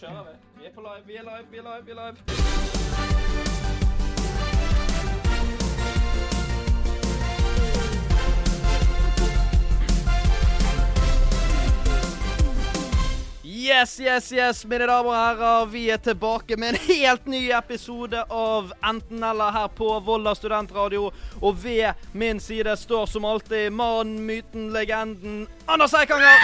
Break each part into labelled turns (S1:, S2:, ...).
S1: kjører vi. Vi er på live, vi er live, vi er live. vi er live.
S2: Yes, yes, yes, mine damer og herrer. Vi er tilbake med en helt ny episode av Enten eller her på Volda studentradio. Og ved min side står som alltid mannen, myten, legenden Anders Eikanger.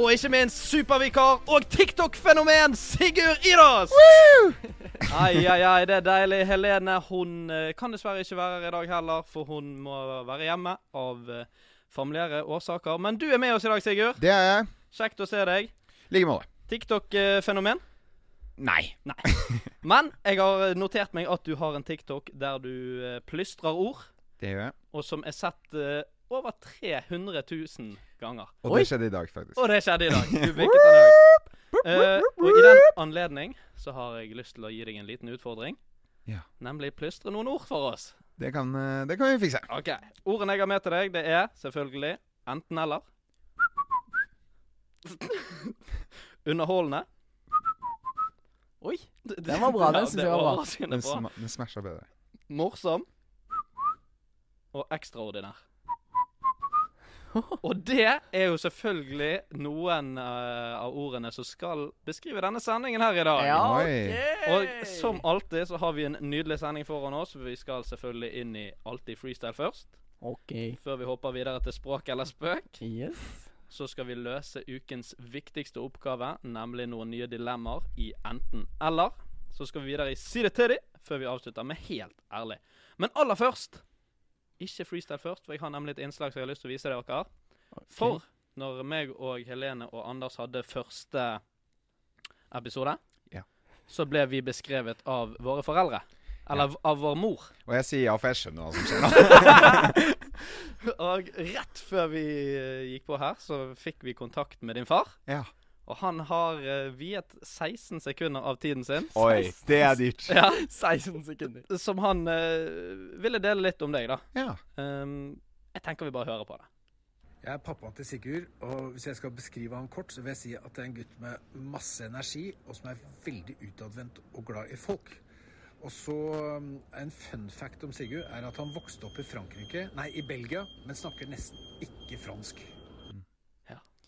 S2: Og ikke minst supervikar og TikTok-fenomen Sigurd Idås. Ai, ai, ai, det er deilig. Helene hun eh, kan dessverre ikke være her i dag heller, for hun må være hjemme av eh, familiære årsaker. Men du er med oss i dag, Sigurd.
S3: Det er jeg.
S2: Kjekt å se deg.
S3: Like måte.
S2: TikTok-fenomen.
S3: Nei.
S2: Men jeg har notert meg at du har en TikTok der du eh, plystrer ord,
S3: Det gjør jeg.
S2: og som er sett eh, over 300 000 ganger.
S3: Og det skjedde i dag, faktisk.
S2: Og det skjedde i dag. Du bikket den dag. Eh, og i den anledning så har jeg lyst til å gi deg en liten utfordring.
S3: Ja.
S2: Nemlig plystre noen ord for oss.
S3: Det kan, eh, det kan vi fikse.
S2: Ok, Ordene jeg har med til deg, det er selvfølgelig enten-eller. Underholdende. Oi.
S4: Den var bra, den synes jeg var bra.
S2: overraskende
S3: Den,
S2: bra.
S3: sma den smasher bedre.
S2: Morsom. Og ekstraordinær. Og det er jo selvfølgelig noen eh, av ordene som skal beskrive denne sendingen her i dag.
S4: Ja,
S3: Oi.
S4: ok.
S2: Og som alltid så har vi en nydelig sending foran oss. Vi skal selvfølgelig inn i Alltid freestyle først.
S4: OK.
S2: Før vi hopper videre til språk eller spøk,
S4: Yes.
S2: så skal vi løse ukens viktigste oppgave, nemlig noen nye dilemmaer i enten eller. Så skal vi videre i Si det til de, før vi avslutter med Helt ærlig. Men aller først Ikke freestyle først, for jeg har nemlig et innslag som jeg har lyst til å vise dere.
S4: Ok.
S2: For når meg og Helene og Anders hadde første episode,
S3: Ja.
S2: så ble vi beskrevet av våre foreldre. Eller av vår mor.
S3: Og jeg sier ja, for jeg skjønner hva som skjer nå.
S2: Og rett før vi eh, gikk på her, så fikk vi kontakt med din far.
S3: Ja.
S2: Og han har eh, viet 16 sekunder av tiden sin.
S4: Oi,
S3: det er dyrt.
S2: Ja,
S4: 16 sekunder.
S2: som han eh, ville dele litt om deg, da.
S3: Ja.
S2: Ehm, jeg tenker vi bare hører på det.
S5: Jeg er pappaen til Sigurd, og hvis jeg skal beskrive ham kort, så vil jeg si at det er en gutt med masse energi, og som er veldig utadvendt og glad i folk. Og så um, En fun fact om Sigurd er at han vokste opp i Frankrike, nei, i Belgia, men snakker nesten ikke fransk.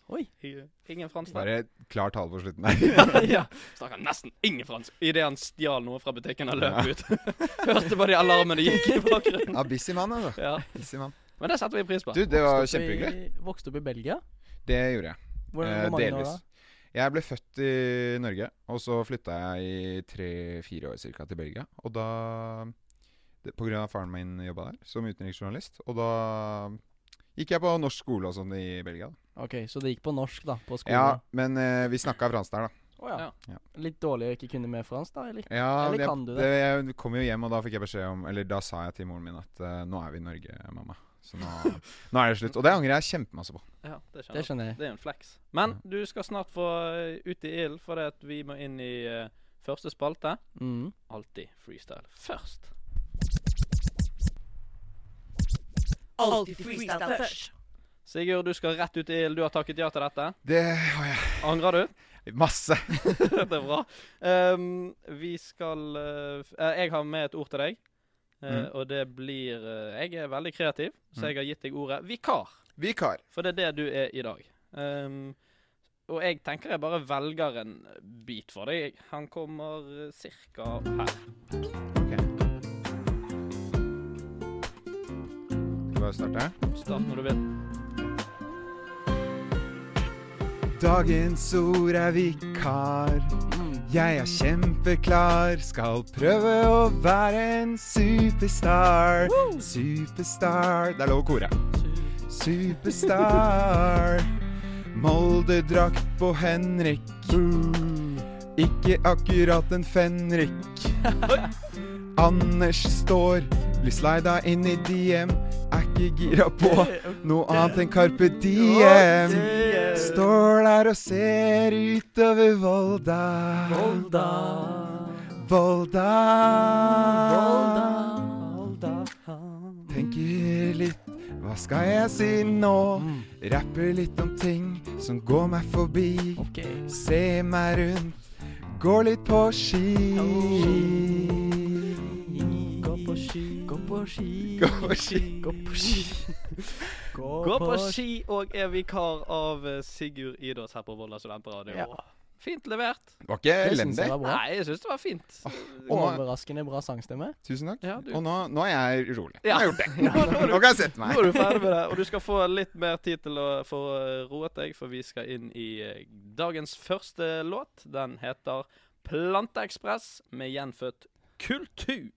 S4: Oi.
S2: I- Ingen fransk der.
S3: Bare klar tale på slutten der.
S2: ja. Snakker nesten ingen fransk idet han stjal noe fra butikken og løp ut. Hørte bare de alarmene gikk i bakgrunnen.
S3: Ja, busy mann, altså.
S2: Ja.
S3: Busy mann.
S2: Men det setter vi pris på.
S3: Du, det var
S4: Vokste opp i-
S3: kjempehyggelig.
S4: Vokste opp i Belgia?
S3: Det gjorde jeg.
S4: Hvordan,
S3: Eh,
S4: hvor mange år da?
S3: delvis. Jeg ble født i Norge, og så flytta jeg i tre-fire år cirka til Belgia. Og da det- På grunn av faren min jobba der som utenriksjournalist. Og da gikk jeg på norsk skole og sånn i Belgia. da.
S4: Ok, Så det gikk på norsk, da? På skolen?
S3: Ja, men eh, vi snakka fransk der, da.
S4: Å ja.
S3: Ja.
S4: Litt dårlig å ikke kunne mer fransk, da? eller?
S3: Ja,
S4: Eller
S3: jeg,
S4: kan du det?
S3: Jeg kom jo hjem, og da fikk jeg beskjed om Eller da sa jeg til moren min at eh, nå er vi i Norge, mamma. Så nå, nå er det slutt. Og det angrer jeg kjempemasse på.
S2: Ja, det skjønner
S4: Det
S2: jeg.
S4: skjønner jeg.
S2: Det er en flex. Men du skal snart få eh, ut i ilden, for det at vi må inn i eh, første spalte.
S4: Mm.
S2: Alltid freestyle først.
S6: Alltid freestyle først.
S2: Sigurd, du skal rett ut i ilden. Du har takket ja til dette.
S3: Det har jeg.
S2: Angrer du?
S3: Masse.
S2: det er bra. Um, vi skal eh, f- eh, Jeg har med et ord til deg. Eh,
S3: Mm.
S2: Og det blir eh, Jeg er veldig kreativ, så jeg har gitt deg ordet vikar.
S3: Vikar.
S2: For det er det du er i dag. Um, og jeg tenker jeg bare velger en bit for deg. Han kommer ca. her.
S3: Skal vi bare starte?
S2: Start når du vil.
S3: Dagens ord er vikar. Jeg er kjempeklar, skal prøve å være en superstar. Superstar Det er lov å kore. Superstar. Molde-drakt på Henrik. Ikke akkurat en fenrik. Anders står, blir slida inn i DM. Er ikke gira på noe annet enn Carpe Diem. Står der og ser utover Volda.
S4: Volda,
S3: Volda.
S4: Volda
S3: Mm. Tenker litt, hva skal jeg si nå? Rapper litt om ting som går meg forbi.
S4: OK.
S3: Se meg rundt, gå litt på ski.
S4: Gå på ski. Gå på ski.
S3: Gå på ski.
S4: Gå på ski.
S2: Gå på ski og er vikar av eh, Sigurd Idås her på Volda studentradio.
S4: Ja.
S2: Fint levert.
S3: Det var ikke
S4: Det syns
S3: elendig.
S4: jeg var bra.
S2: Nei, jeg syns det var fint.
S3: Og nå,
S4: Overraskende bra sangstemme.
S3: tusen takk.
S2: Ja, du-
S3: Og nå, nå er jeg rolig. Nå
S2: Ja.
S3: har jeg gjort det.
S2: Nå- nå er du-
S3: Nå kan jeg sette
S2: Nå
S3: meg.
S2: er du ferdig med det, og du skal få litt mer tid til å få eh, roet deg, for vi skal inn i eh, dagens første låt. Den heter Planteekspress med gjenfødt kultur.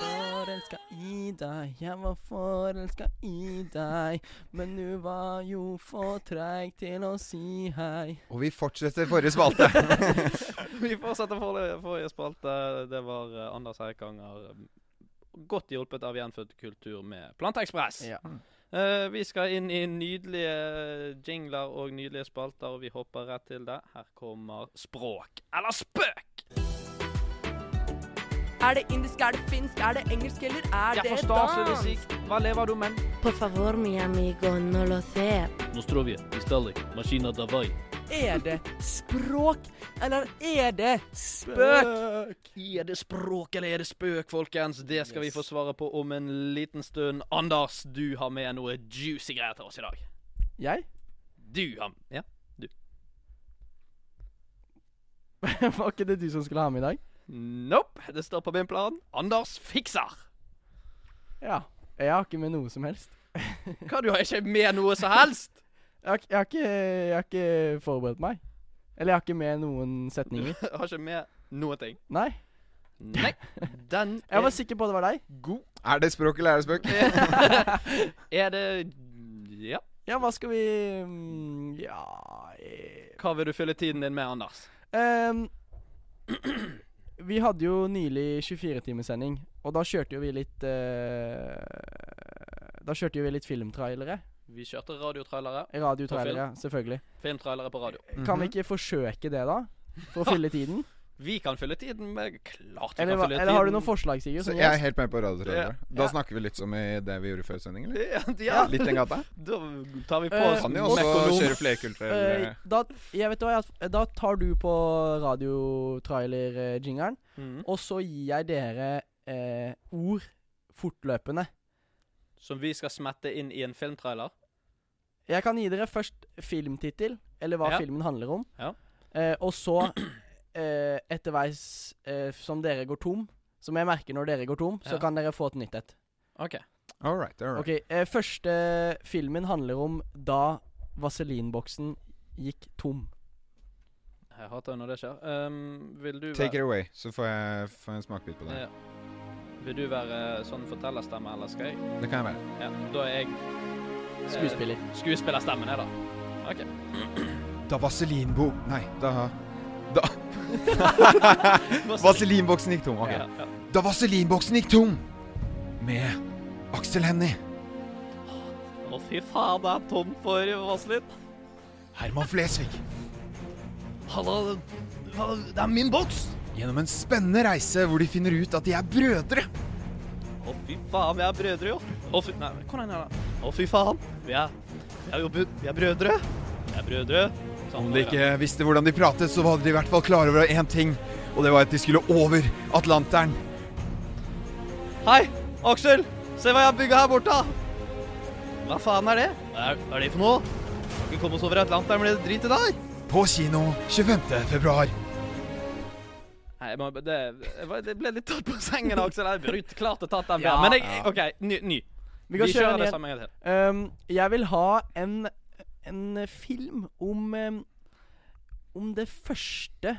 S4: Forelska i deg, jeg var forelska i deg. Men du var jo for treig til å si hei.
S3: Og vi fortsetter forrige spalte.
S2: Vi fortsetter forrige forrige spalte. Det var eh, Anders Heikanger. eh, Godt hjulpet av gjenfødt kultur med Planteekspress.
S4: Ja.
S2: Eh, vi skal inn i nydelige eh, jingler og nydelige spalter, og vi hopper rett til det. Her kommer språk eller spøk!
S6: Er det indisk, er det finsk, er det engelsk, eller er
S2: Jeg
S6: det
S2: forstår så det
S6: dans?
S2: sikt. Hva lever du med?
S7: Por favor, mi amigo, no lo sé.
S2: Nostrovje, Istalik, Maskina Davai.
S6: Er det språk, eller er det spøk?
S2: Er det språk eller er det spøk, folkens? Det skal vi få svare på om en liten stund. Anders, du har med noe juicy greier til oss i dag.
S4: Jeg?
S2: Du har Ja.
S4: Var ikke det du som skulle ha med i dag?
S2: Nope, det står på min plan. Anders fikser.
S4: Ja. Jeg har ikke med noe som helst.
S2: Hva, du har ikke med noe som helst?
S4: Jeg har, jeg har, ikke, jeg har ikke forberedt meg. Eller jeg har ikke med noen
S2: Du
S4: setninger.
S2: har ikke med noen ting.
S4: Nei.
S2: Nei, den
S4: Jeg
S2: er
S4: var sikker på det var deg.
S2: god.
S3: Er det språk eller er det spøk?
S2: Er det Ja.
S4: Ja, hva skal vi mm, Ja eh,
S2: Hva vil du fylle tiden din med, Anders?
S4: ehm, Vi hadde jo nylig 24-timerssending, og da kjørte jo vi litt eh, Da kjørte jo vi litt filmtrailere.
S2: Vi kjørte radiotrailere.
S4: Radiotrailere, selvfølgelig.
S2: Filmtrailere på radio.
S3: Mhm.
S4: Kan vi ikke forsøke det, da? For å fylle tiden?
S2: Vi kan fylle tiden med Klart vi
S4: Eller,
S2: kan fylle
S4: hva-
S2: tiden.
S4: eller har du noen forslag, Sigurd?
S3: Så
S4: som
S3: jeg er
S4: gjest?
S3: helt med på radiotrailere. Da
S4: sånn, Ja.
S3: snakker vi litt som i det vi gjorde før sending, eller?
S2: Ja, ja,
S3: Litt den gata.
S2: da tar vi på
S4: Eh,
S2: oss
S3: Kan jo også
S2: Mekonom.
S3: kjøre flerkulturelle
S4: Eh, da, jeg vet hva, jeg- da tar du på radiotrailer-jingeren,
S2: Mhm.
S4: og så gir jeg dere eh, ord fortløpende.
S2: Som vi skal smette inn i en filmtrailer.
S4: Jeg kan gi dere først filmtittel, eller hva
S2: Ja.
S4: filmen handler om.
S2: Ja.
S4: Eh, og så, eh, etterveis eh, som dere går tom, som jeg merker når dere går tom,
S2: Ja.
S4: så kan dere få et nytt et.
S2: Ok
S3: All right, all right.
S4: Ok, eh, Første filmen handler om da vaselinboksen gikk tom.
S2: Jeg hater når det skjer. Ehm, vil du
S3: Take
S2: være
S3: it away, så får jeg, får jeg en smakebit på det.
S2: Ja. Vil du være sånn fortellerstemme, eller skal jeg?
S3: Det kan jeg være.
S2: Ja, da er jeg eh,
S4: Skuespiller.
S2: skuespillerstemmen, jeg, da.
S3: Da vaselinbo... Nei, da Da Vaselinboksen gikk tom. ok.
S2: Ja, ja.
S3: Da vaselinboksen gikk tom med Aksel Hennie,
S2: Å, fy faen, det er tom for vaselin.
S3: Herman Flesvig,
S2: Hallo, det er min boks!
S3: gjennom en spennende reise hvor de finner ut at de er brødre.
S2: Å, fy faen, vi er brødre, jo. Å, fy, nei, kom igjen, her, da. Å, fy faen. Vi er, vi er jo bu- vi er brødre. Sånn Vi er brødre. Sammen
S3: Om de ikke visste hvordan de pratet, så var de i hvert fall klar over én ting, og det var at de skulle over Atlanteren.
S2: Hei, Aksel. Se hva jeg har bygget her borte. Hva faen er det? Hva er, hva er det for noe? Kan ikke komme oss over Atlanteren med det dritet der.
S3: På kino 25. februar.
S2: Nei, jeg må, det, jeg var- det ble litt tatt på sengen, Aksel. Jeg burde ikke klart å tatt den.
S4: Ja.
S2: der. Men jeg, OK, ny. ny.
S4: Vi kan kjøre den
S2: det
S4: igjen.
S2: samme en gang til.
S4: Um, jeg vil ha en, en film om um, Om det første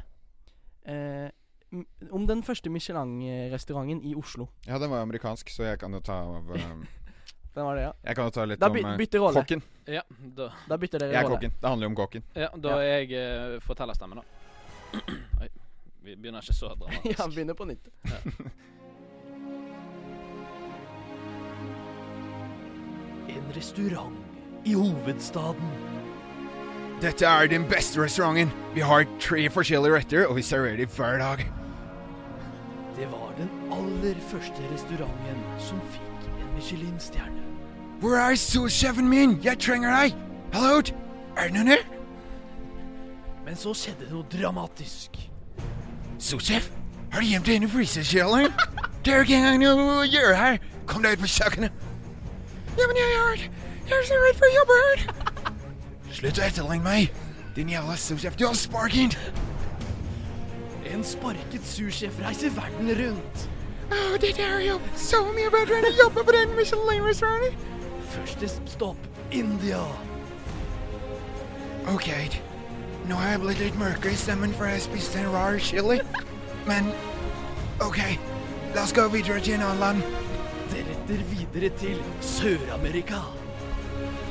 S4: eh, m- Om den første Michelin-restauranten i Oslo.
S3: Ja, den var jo amerikansk, så jeg kan jo ta av eh,
S4: Den var det, ja.
S3: Jeg kan jo ta litt
S4: Da
S3: om
S4: by-
S3: eh,
S4: bytter rolle.
S3: kokken.
S2: Ja, da,
S4: Da bytter dere
S3: Jeg er
S4: rolle.
S3: kokken. Det handler jo om kokken.
S2: ja, da er jeg eh, fortellerstemmen, da. Oi. Vi begynner ikke så dramatisk.
S4: Ja, begynner på nytt.
S2: En restaurant i hovedstaden.
S3: Dette er den beste restauranten. Vi har tre forskjellige retter, og vi serverer dem hver dag.
S2: Det var den aller første restauranten som fikk en Michelin-stjerne.
S3: Hvor er solsjefen min? Jeg trenger deg! Hallo? Er det noen her?
S4: Men så skjedde det noe dramatisk.
S3: Så, sjef, har du gjemt deg inne i fryseskjelleren? Det er ikke engang noe å gjøre her. Kom deg ut på kjøkkenet. Ja, men jeg er, jeg er så redd for å jobbe her. Slutt å etterlenge meg. Din jævla sous-sjef, du har sparken.
S4: En sparket sursjef reiser verden rundt.
S3: Åh, det der er jo så mye bedre enn å jobbe på den Michelin-restauranten.
S4: Første stopp India.
S3: Ok, nå har jeg blitt litt mørkere i stemmen for jeg spiste en rar chili. Men ok, la oss gå videre til en annen land.
S4: Deretter videre til Sør-Amerika.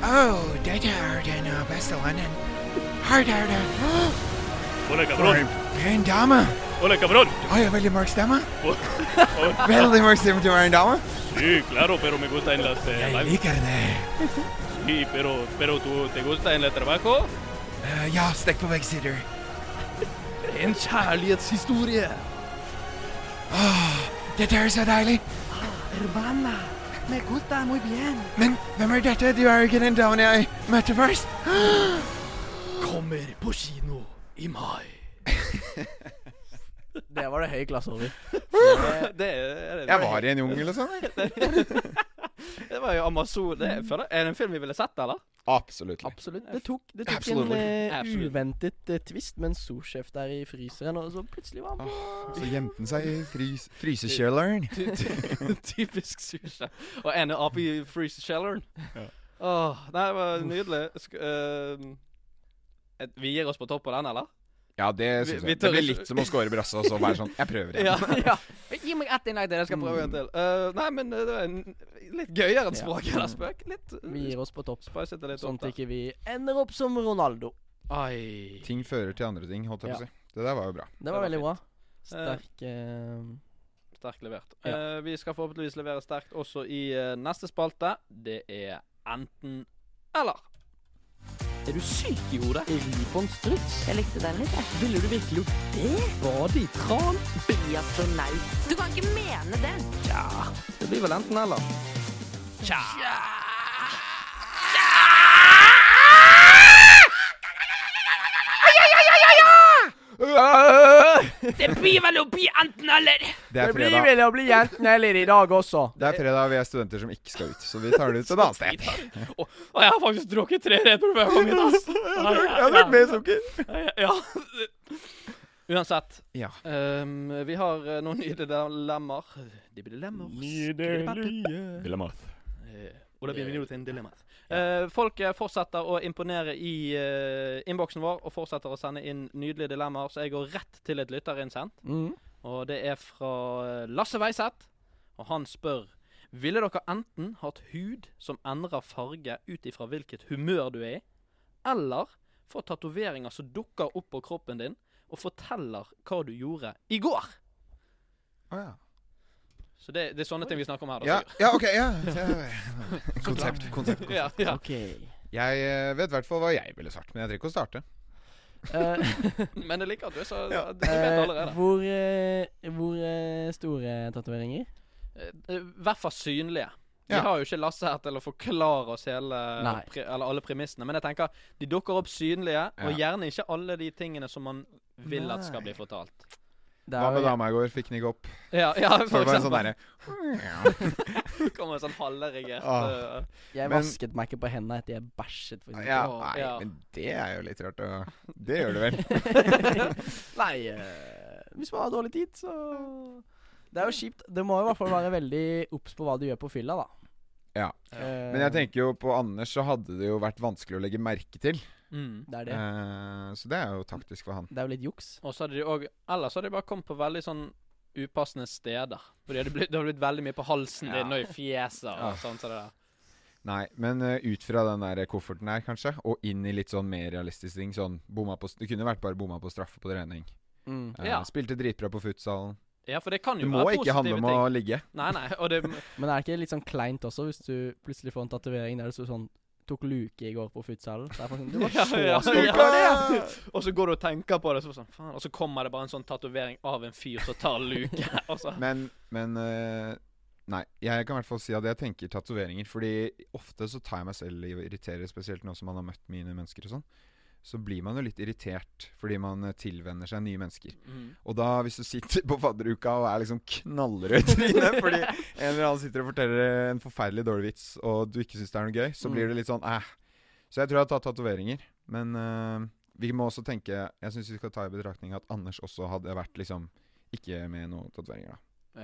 S3: Åh, dette er den uh, beste landen. Her er det.
S8: Ole,
S3: For
S8: cabron.
S3: en dame.
S8: Ole, cabron.
S3: Du har jo veldig mørk stemme.
S8: Oh,
S3: Veldig mørk stemme til å være en dame.
S8: sí, claro, pero me gusta en las... eh,
S3: Jeg
S8: live-
S3: liker det.
S8: Sí, pero, pero tú, ¿te gusta en el trabajo?
S3: Eh, ja, stekk på begge sider.
S4: En kjærlighetshistorie.
S3: Dette Ah, er så deilig.
S4: Hermana, Ah, me gusta muy bien.
S3: Men hvem er dette? Du er ikke den damen jeg møtte først.
S4: Kommer på kino i mai. det var det høy klasse over.
S2: Det er, det
S9: Jeg var i en jungel og sånn. jeg.
S2: Det var jo Amazon. Det, jeg føler, er det en film vi ville sett, eller?
S9: Absolutt.
S4: Absolutt. Det tok, det tok en
S9: Absolutely.
S4: eh,
S2: Absolutely.
S4: uventet eh, twist med en storsjef der i fryseren, og så plutselig var han på
S9: Så gjemte han seg i frys frysekjelleren.
S2: Ty- ty- Typisk sushi. Og en ape i freeze shelleren. Åh, nei, det var nydelig. Sk eh, et- vi gir oss på topp på den, eller?
S9: Ja, det
S2: Vi-
S9: syns
S2: vi
S9: jeg.
S2: tør
S9: Det blir
S2: ikke-
S9: litt som å score brassa og så være sånn Jeg prøver igjen.
S2: Ja. Gi meg ett innlegg til, jeg skal
S4: Mm.
S2: prøve en til. Eh, nei, men eh, det var en litt gøyere enn språk eller spøk. Litt eh,
S4: Vi gir oss på topp,
S2: spicet det litt
S4: sånn
S2: opp
S4: at
S2: der.
S4: ikke vi ender opp som Ronaldo.
S2: Ai.
S9: Ting fører til andre ting, holdt jeg på å
S4: Ja.
S9: si. Det der var jo bra.
S4: Det var
S2: var
S4: veldig bra.
S2: Eh,
S4: Sterk eh,
S2: Sterkt levert.
S4: Ja.
S2: Eh, vi skal forhåpentligvis levere sterkt også i eh, neste spalte. Det er enten eller. Er du syk i hodet?
S4: Ribbonstruts?
S6: Jeg likte den litt, jeg.
S4: Ville du virkelig gjort det? Bade i tran?
S6: Bli astronaut. Du kan ikke mene det.
S2: Det blir vel enten eller.
S9: Det er
S4: blir
S9: fredag.
S4: vel å bli jenten eller i dag også.
S9: Det er fredag, og vi er studenter som ikke skal ut. Så vi tar det ut et annet sted.
S1: Og jeg har faktisk drukket tre Red Bull før jeg kom hit, ass.
S9: Jeg har vært med i sukker.
S1: Ja.
S2: Uansett.
S9: Ja.
S2: ehm, vi har eh, noen nye dilemmaer. De blir dilemmaer. Eh, Og da blir vi nå til en dilemma. Eh, folk eh, fortsetter å imponere i eh, innboksen vår og fortsetter å sende inn nydelige dilemmaer, så jeg går rett til et lytterinnsend.
S4: Mm,
S2: Og det er fra eh, Lasse Weiseth, og han spør Ville dere enten hatt hud som endrer farge ut ifra hvilket humør du er i, eller få tatoveringer som dukker opp på kroppen din og forteller hva du gjorde i går?
S9: Å, ja.
S2: Så det, det er sånne ting vi snakker om her. altså. da.
S9: Ja, ja, ok. Ja. Konsept, konsept.
S2: Sigurd. Ja, ja.
S4: OK.
S9: Jeg eh, vet i hvert fall hva jeg ville svart, men jeg trenger ikke å starte.
S4: Eh,
S2: Men jeg liker at du er så Du vet
S4: eh,
S2: allerede.
S4: hvor eh, hvor eh, store tatoveringer?
S2: Eh, I hvert fall synlige. Vi
S9: Ja.
S2: har jo ikke Lasse her til å forklare oss hele,
S4: Nei.
S2: pre, eller alle premissene, men jeg tenker de dukker opp synlige, og gjerne ikke alle de tingene som man vil at skal bli fortalt.
S4: Det
S9: Hva
S4: er
S9: med
S4: jo
S9: dama i går? Fikk den ikke opp.
S2: Ja, ja
S9: Så
S2: for
S9: det var en sånn
S2: eksempel.
S9: derre
S2: Kommer en sånn halvregert
S9: Ah.
S2: eh,
S4: Jeg
S9: Men-
S4: vasket meg ikke på hendene etter jeg bæsjet. For eksempel.
S9: ja,
S2: Å,
S9: Nei,
S2: ja.
S9: men det er jo litt rart. å- Det gjør det vel.
S4: Nei eh, Hvis man har dårlig tid, så Det er jo kjipt. Det må i hvert fall være veldig obs på hva du gjør på fylla, da.
S9: Ja.
S4: Eh,
S9: Men jeg tenker jo på Anders, så hadde det jo vært vanskelig å legge merke til.
S2: mm.
S4: Det er det.
S9: Eh, Så det er jo taktisk for han.
S4: Det er jo litt juks.
S2: Og så hadde de òg Ellers hadde de bare kommet på veldig sånn upassende steder. Fordi det hadde blitt, det hadde blitt veldig mye på halsen din og i fjeset og
S9: Ja.
S2: sånn som det der.
S9: Nei, men eh, ut fra den der kofferten her, kanskje, og inn i litt sånn mer realistiske ting. Sånn bomma på Det kunne vært bare bomma på straffe på trening.
S4: Mm.
S9: Eh,
S2: Ja.
S9: Spilte dritbra på futsalen.
S2: Ja, for det kan
S9: Det
S2: jo
S9: må
S2: være
S9: ikke
S2: positive ting.
S9: handle om å ligge.
S2: Nei, nei. Og det
S4: Men er det ikke litt sånn kleint også, hvis du plutselig får en tatovering der det står sånn Tok luke i går på futsalen. Så er det bare sånn, du var så
S2: ja,
S4: stor.
S2: ja, ja. Og så går du og tenker på det, så sånn, faen. og så kommer det bare en sånn tatovering av en fyr som tar luke. Og så
S9: Men, men eh, Nei, jeg kan i hvert fall si at jeg tenker tatoveringer. Fordi ofte så tar jeg meg selv i å irritere, spesielt nå som man har møtt mine mennesker og sånn. så blir man jo litt irritert fordi man eh, tilvenner seg nye mennesker.
S2: Mm.
S9: Og da, hvis du sitter på fadderuka og er liksom knallrød i trynet fordi en eller annen sitter og forteller en forferdelig dårlig vits, og du ikke syns det er noe gøy, så blir det litt sånn æh. Så jeg tror jeg har tatt tatoveringer. Men eh, vi må også tenke Jeg syns vi skal ta i betraktning at Anders også hadde vært liksom ikke med noen tatoveringer, da.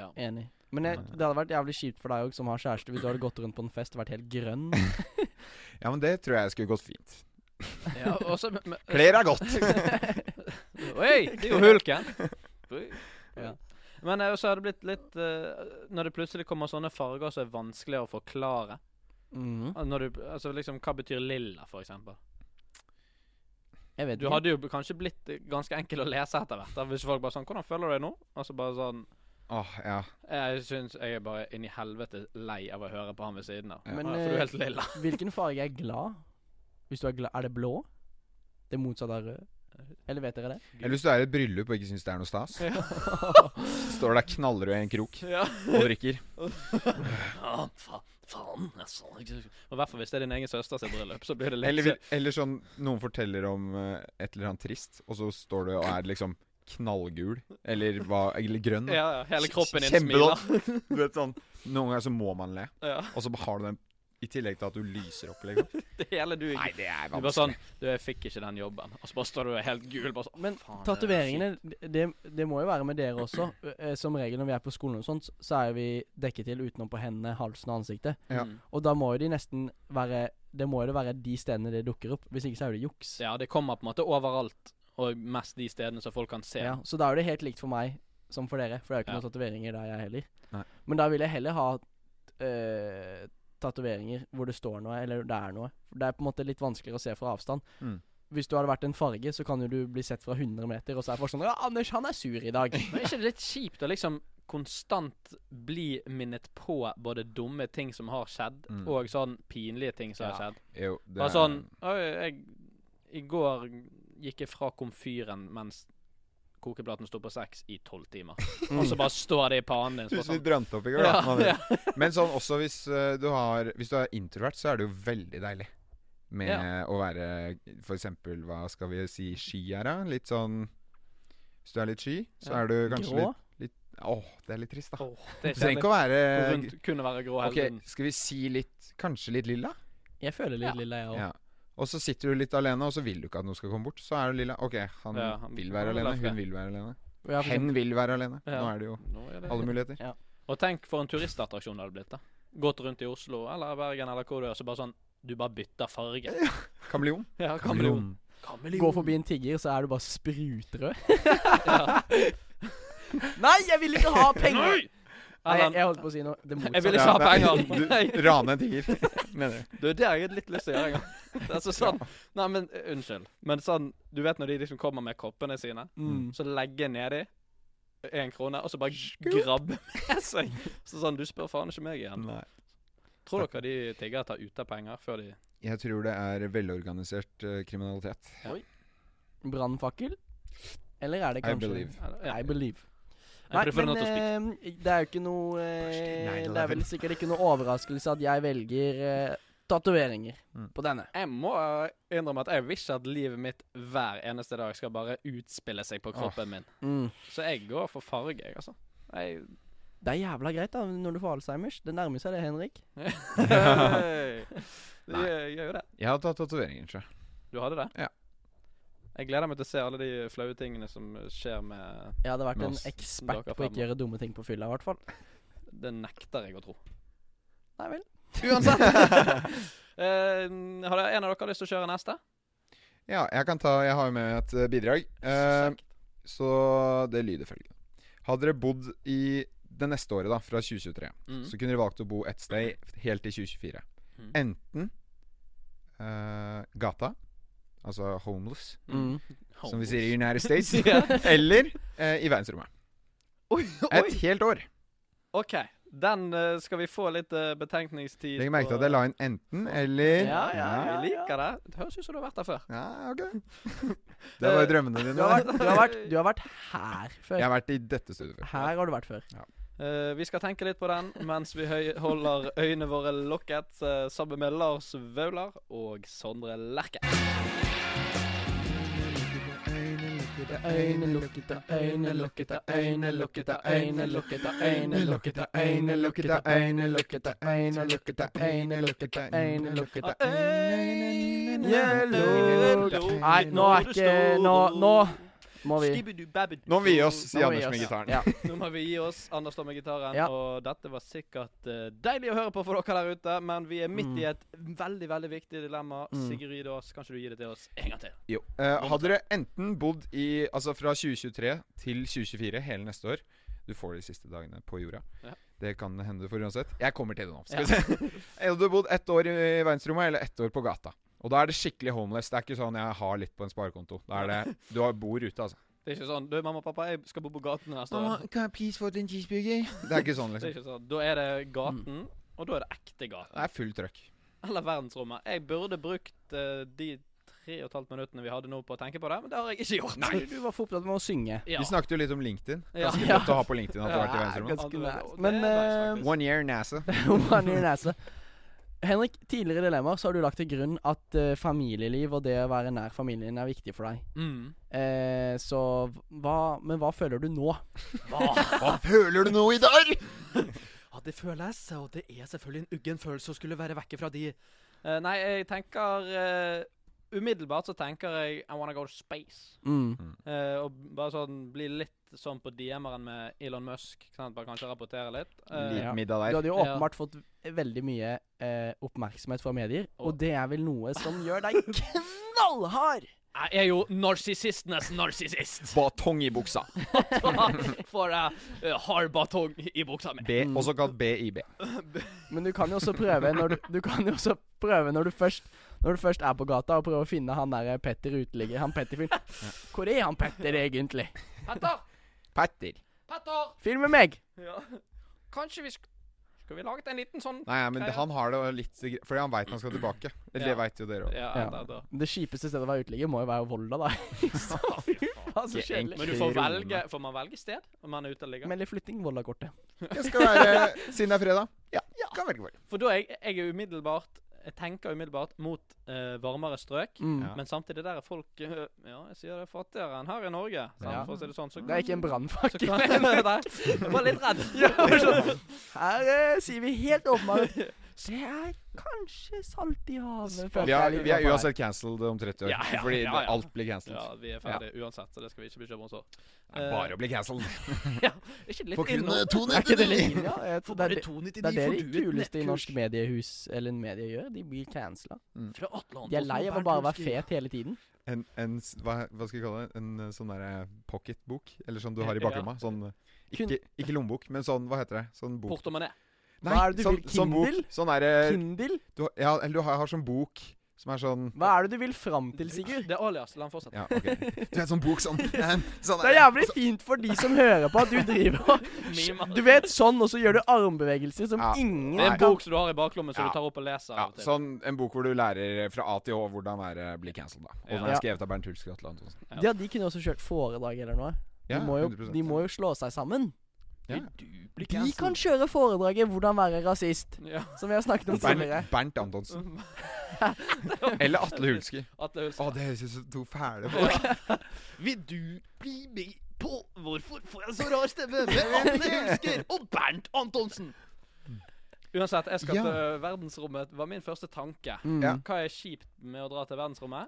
S2: Ja.
S4: Enig. Men jeg, det hadde vært jævlig kjipt for deg òg, som har kjæreste, hvis du hadde gått rundt på en fest og vært helt grønn.
S9: Ja, men det tror jeg skulle gått fint.
S2: ja og så men- men-
S9: Klær er godt.
S2: Oi, det er jo hulken. Oi.
S4: Ja.
S2: Men eh, så har det blitt litt eh, Når det plutselig kommer sånne farger som er vanskeligere å forklare
S4: Mhm.
S2: Al- når du, altså liksom, Hva betyr lilla, for eksempel?
S4: Jeg vet
S2: Du
S4: ikke.
S2: hadde jo kanskje blitt eh, ganske enkel å lese etter hvert. da, Hvis folk bare sånn 'Hvordan føler du deg nå?' Og så bare sånn
S9: Åh, ja.
S2: Jeg syns jeg er bare inni helvete lei av å høre på han ved siden av.
S9: Ja.
S4: Men eh,
S2: Ja, for du er helt lilla.
S4: hvilken farge er glad? Hvis du er glad Er det blå? Det motsatte av rød? Eller vet dere det?
S9: Eller hvis du er i et bryllup og ikke syns det er noe stas. Står der knallrød i en krok og drikker.
S2: Ja, fa faen, jeg sa ikke Og I hvert fall hvis det er din egen søster sitt bryllup, så blir det litt
S9: Eller, vil- eller sånn noen forteller om eh, et eller annet trist, og så står du og er liksom knallgul. Eller, hva, eller grønn. da.
S2: ja, ja, Hele kroppen din
S9: Kjempegodt.
S2: smiler.
S9: Du vet sånn Noen ganger så må man le,
S2: Ja.
S9: og så har du den i tillegg til at du lyser opp. Liksom.
S2: Det hele du
S9: Nei, det er
S2: Du bare sånn
S9: vanskelig.
S2: Du, jeg fikk ikke den jobben. Og så bare står du helt gul. Bare sånn
S4: Men
S2: faen, det er
S4: tatoveringene, det, det må jo være med dere også. Eh, Som regel når vi er på skolen og sånt, så er vi dekket til utenom på hendene, halsen og ansiktet.
S2: kjipt.
S9: Ja.
S2: Mm.
S4: Og da må jo de nesten være Det må jo det være de stedene det dukker opp. Hvis ikke så er det juks.
S2: Ja, det kommer på en måte overalt, og mest de stedene som folk kan se.
S4: Ja, så da er det helt likt for meg som for dere, for det er jo
S2: Ja.
S4: ikke noen tatoveringer der, jeg heller.
S9: Nei.
S4: Men da vil jeg heller ha uh, tatoveringer hvor det står noe, eller det er noe. For Det er på en måte litt vanskeligere å se fra avstand.
S9: Mm.
S4: Hvis du hadde vært en farge, så kan jo du bli sett fra 100 meter, og så er folk sånn Ja, Anders, han er sur i dag.
S2: Men er ikke det litt kjipt å liksom konstant bli minnet på både dumme ting som har skjedd,
S9: Mm.
S2: og sånn pinlige ting som har
S4: Ja.
S2: skjedd?
S9: Jo, det
S2: Bare sånn Oi, jeg I går gikk jeg fra komfyren mens kokeplaten sto på seks i tolv timer. Og så bare står det i pannen din. så
S9: Hvis
S2: bare
S9: vi
S2: Sånn,
S9: brant opp i går, da.
S2: Ja,
S9: man vet.
S2: ja.
S9: Men sånn også hvis eh, du, har, hvis du er introvert, så er det jo veldig deilig med å være For eksempel, hva skal vi si, sky er da? Litt sånn Hvis du er litt sky, så
S2: Ja.
S9: er du kanskje
S4: Grå.
S9: litt Åh, det er litt trist, da.
S2: Åh, det
S9: Du
S2: er
S9: trenger
S2: kjedelig.
S9: ikke å være
S2: Gå Rundt, kunne være grå hele
S9: Ok,
S2: tiden.
S9: skal vi si litt Kanskje litt lilla?
S4: Jeg føler litt lilla, jeg òg.
S9: Ja. Og så sitter du litt alene, og så vil du ikke at noen skal komme bort. Så er du lilla. Ok, han
S2: Ja, han-
S9: vil være
S2: han er
S9: alene,
S2: lagt det.
S9: hun vil være alene.
S4: Og jeg har for
S9: Hen
S4: eksempel-
S9: vil være alene.
S2: Ja.
S9: Nå er det jo
S2: Nå er det
S9: alle muligheter.
S2: Og tenk for en turistattraksjon det hadde blitt. da Gått rundt i Oslo eller Bergen eller hvor du er, så bare sånn Du bare bytter farge.
S9: Kameleon.
S2: Ja,
S4: Gå forbi en tigger, så er du bare sprutrød. Nei, jeg vil ikke ha penger!
S2: Nei!
S4: Nei, jeg,
S2: Eller,
S4: jeg holdt på å si noe. Det
S2: jeg vil ikke
S4: motsatte.
S2: ha
S9: nei,
S2: penger. Nei.
S9: Du rane en tiger, mener du.
S2: Du, det har jeg litt lyst til å gjøre en gang. Altså sånn Nei, men eh, unnskyld. Men sånn Du vet når de liksom kommer med koppene sine,
S4: Mm.
S2: så legger jeg nedi én krone, og så bare grabber med seg. Så sånn Du spør faen ikke meg igjen.
S9: Nei.
S2: Tror dere de tiggere tar ut av penger før de
S9: Jeg tror det er velorganisert eh, kriminalitet.
S4: Brannfakkel? Eller er det
S9: I
S4: kanskje
S9: believe.
S2: Ja.
S4: I believe.
S2: Jeg preferer not to speak.
S4: men eh, det er jo ikke noe eh, Det er vel sikkert ikke noe overraskelse at jeg velger eh, tatoveringer
S9: Mm.
S4: på denne.
S2: Jeg må eh, innrømme at jeg vil ikke at livet mitt hver eneste dag skal bare utspille seg på kroppen min.
S4: Mm.
S2: Så jeg går for farge, jeg, altså. Jeg,
S4: Det er jævla greit da når du får Alzheimers. Det nærmer seg det, Henrik.
S2: Nei. Jeg gjør jo det.
S9: Jeg har tatt tatoveringer, tror jeg.
S2: Du hadde det?
S9: Ja.
S2: Jeg gleder meg til å se alle de flaue tingene som skjer med
S4: Jeg hadde vært
S9: Med
S4: en
S9: oss.
S4: ekspert
S2: Dere
S4: på å
S2: fem.
S4: ikke gjøre dumme ting på fylla, i hvert fall.
S2: Det nekter jeg å tro.
S4: Nei vel.
S2: Uansett. Eh, har det- en av dere lyst til å kjøre neste?
S9: Ja, jeg kan ta Jeg har jo med et eh, bidrag. Eh, så det lyder følgende. Hadde dere bodd i det neste året, da, fra 2023,
S2: Mm.
S9: så kunne dere valgt å bo et sted helt til 2024.
S2: Mm.
S9: Enten eh, gata, altså homeless,
S4: Mm.
S9: som vi sier i United States,
S2: Ja.
S9: eller eh, i verdensrommet.
S2: Oi,
S9: Et
S2: oi.
S9: helt år.
S2: OK. Den eh, skal vi få litt eh, betenkningstid
S9: Legg merke til at
S2: på.
S9: jeg la inn enten
S4: Eh,
S9: eller.
S2: Ja, ja,
S9: ja.
S2: vi liker det. Det høres ut som du har vært der før.
S9: Ja, ok. Det var drømmene dine.
S4: Du, har vært,
S9: da.
S4: du, har vært, du har vært her
S9: Jeg
S4: før.
S9: har vært i dette studioet før.
S4: Her har du vært før.
S2: Eh, vi skal tenke litt på den mens vi høy holder øynene våre lokket eh, sammen med Lars Vaular og Sondre Lerche.
S4: lukkete øyne, lukkete øyne, lukkete øyne, lukkete øyne, lukkete øyne, lukkete øyne, lukkete øyne, lukkete øyne, lukkete øyne, lukkete øyne, lukkete øyne Nei, nå er ikke Nå, nå må vi
S9: Nå må vi gi oss,
S4: Nå
S9: sier
S4: må vi
S9: Anders med
S4: gi oss.
S9: gitaren.
S4: Ja.
S2: Nå må vi gi oss. Anders tar med gitaren.
S4: Ja.
S2: Og dette var sikkert eh, deilig å høre på for dere der ute, men vi er midt i et veldig veldig viktig dilemma.
S4: Mm.
S2: Sigrid Aas, kan ikke du gi det til oss en gang til?
S9: Jo. Eh, hadde dere enten bodd i Altså fra 2023 til 2024, hele neste år Du får de siste dagene på jorda.
S2: Ja.
S9: Det kan hende for uansett. Jeg kommer til det nå. Skal vi se. Hadde du bodd ett år i verdensrommet eller ett år på gata? Og da er det skikkelig homeless. Det er ikke sånn 'jeg har litt på en sparekonto'. Da er det Du har- bor ute, altså.
S2: Det er ikke sånn Du, mamma og pappa, jeg skal bo på gaten neste år.
S3: Kan jeg please få en cheeseburger?
S9: Det er ikke sånn,
S2: Det er
S9: liksom.
S2: ikke sånn. Da er det
S4: Mm.
S2: gaten, og da er det ekte
S9: Det
S2: gaten.
S9: er full trøkk.
S2: Eller verdensrommet. Jeg burde brukt eh, de tre og et halvt minuttene vi hadde nå på å tenke på det, men det har jeg ikke gjort.
S4: Nei, du var for opptatt med å synge.
S2: Ja.
S9: Vi snakket jo litt om LinkedIn.
S2: Ja.
S9: Ganske
S4: Ja.
S9: godt å ha på LinkedIn at du har vært i
S4: Ja,
S9: verdensrommet.
S4: ganske
S2: Ja, det-
S4: nice.
S2: det
S4: Men
S2: er nice,
S4: eh,
S9: One year NASA.
S4: one year nese. Henrik, tidligere i dilemmaer så har du lagt til grunn at eh, familieliv og det å være nær familien er viktig for deg.
S2: Mm.
S4: Eh, så hva Men hva føler du nå?
S3: Hva føler du nå i dag?
S2: Ja, det føles, og det er selvfølgelig en uggen følelse å skulle være vekke fra de. Eh, nei, jeg tenker eh, Umiddelbart så tenker jeg I wanna go to space.
S4: Mm.
S2: Eh, og bare sånn bli litt sånn på DM-eren med Elon Musk. Ikke sant? Bare kanskje rapportere litt. Eh,
S4: Ja.
S9: Litt middag
S4: Du
S9: der.
S4: hadde jo
S2: Ja.
S4: åpenbart fått veldig mye eh, oppmerksomhet fra medier,
S2: Å.
S4: og det er vel noe som gjør deg knallhard!
S2: Jeg er jo narsissistenes narsissist.
S9: Batong i buksa.
S2: For uh, hard batong i buksa mi.
S4: Mm.
S9: B, også kalt BIB.
S4: Men du kan jo også prøve når du, du kan jo også prøve når du først Når du først er på gata, og prøve å finne han der eh, Petter uteligger. Han Petter-fyren. Hvor er han Petter egentlig?
S2: Petter!
S9: Petter.
S2: Petter!
S4: Film med meg!
S2: Kanskje vi sk Skal vi laget en liten sånn
S9: Nei, men
S2: Greia.
S9: han har det jo litt gre- Fordi han veit han skal tilbake. Eller
S2: Ja.
S9: det veit jo dere òg.
S2: Ja,
S4: Ja.
S2: Der, der.
S4: Det kjipeste stedet å være uteligger må jo være Volda, da. Så fy faen, så
S9: Ikke
S4: kjedelig.
S2: Men du får
S9: Krone.
S2: velge Får man velge sted om man er ute og ligger?
S4: Meld flytting, Volda-kortet.
S9: Jeg skal være eh, Siden det er fredag. Ja, kan velge for.
S2: For da er jeg, jeg er umiddelbart Jeg tenker umiddelbart mot eh, varmere strøk.
S4: Mm.
S9: Ja.
S2: Men samtidig der er folk eh, Ja, jeg sier det er fattigere enn her i Norge. Sant?
S4: Ja.
S2: For å si det sånn. Så,
S4: Det er ikke en
S2: så
S4: brannfakkel.
S2: kan jeg Jeg var litt redd.
S4: Her eh, sier vi helt åpenbart Det er kanskje salt i havet. føler
S9: Vi,
S4: jeg
S9: er,
S4: litt
S9: vi er
S4: på her.
S9: uansett cancelled om 30 år.
S2: Ja, ja,
S9: fordi
S2: ja, ja.
S9: alt blir cancelled.
S2: Ja, vi er ferdige uansett, så det skal vi ikke bekymre oss for.
S9: Det
S4: eh.
S9: er bare å bli cancelled.
S2: Ikke litt
S3: For kun
S2: innom-
S3: 299.
S4: Ja, jeg tror det er det- det er det de kuleste i norsk mediehus eller media gjør. De blir cancela.
S2: Fra Atlant,
S4: De er lei av å bare være fet hele tiden.
S9: En, en s- hva, hva skal vi kalle det? En eh, sånn derre pocketbok? Eller sånn du har i baklomma? Sånn eh,
S4: Kun-
S9: ikke, ikke lommebok, men sånn Hva heter det? Sånn bok
S2: Portemonnaie.
S9: Nei,
S4: Hva er det du vil?
S9: sånn
S4: Kindle?
S9: bok. Sånn derre
S4: Kindle?
S9: du har- Ja, eller du har, har sånn bok som er sånn
S4: Hva er det du vil fram til, Sigurd?
S2: Det er alias. La han fortsette.
S9: Ja, ok. Du vet sånn bok sånn, eh, sånn
S4: Det er jævlig fint for de som hører på, at du driver og
S2: Mimer.
S4: Du vet sånn, og så gjør du armbevegelser som
S9: Ja.
S4: ingen
S2: Det er en
S4: kan-
S2: bok som du har i baklommen, som
S9: Ja.
S2: du tar opp og leser.
S9: Ja,
S2: av og til.
S9: sånn en bok hvor du lærer fra A til H hvordan være bli cancelled, da. Og den
S4: Ja.
S9: er skrevet av Bernt Hulsker og Atle Antonsen.
S4: Ja, de kunne også kjørt foredrag eller noe. De, må, jo, de må jo slå seg sammen.
S9: Ja.
S4: De kan kjøre foredraget 'Hvordan være rasist',
S2: Ja.
S4: som vi har snakket om tidligere.
S9: Bernt, Bernt Antonsen. Eller Atle Hulsker.
S2: Atle Ulsen.
S9: Å, det høres ut som to fæle folk.
S2: Vil du bli med på Hvorfor får jeg så rar stemme? Med Anne Husker og Bernt Antonsen. Uansett, jeg skal
S9: Ja.
S2: til verdensrommet. var min første tanke.
S4: Mm.
S9: Ja.
S2: Hva er kjipt med å dra til verdensrommet?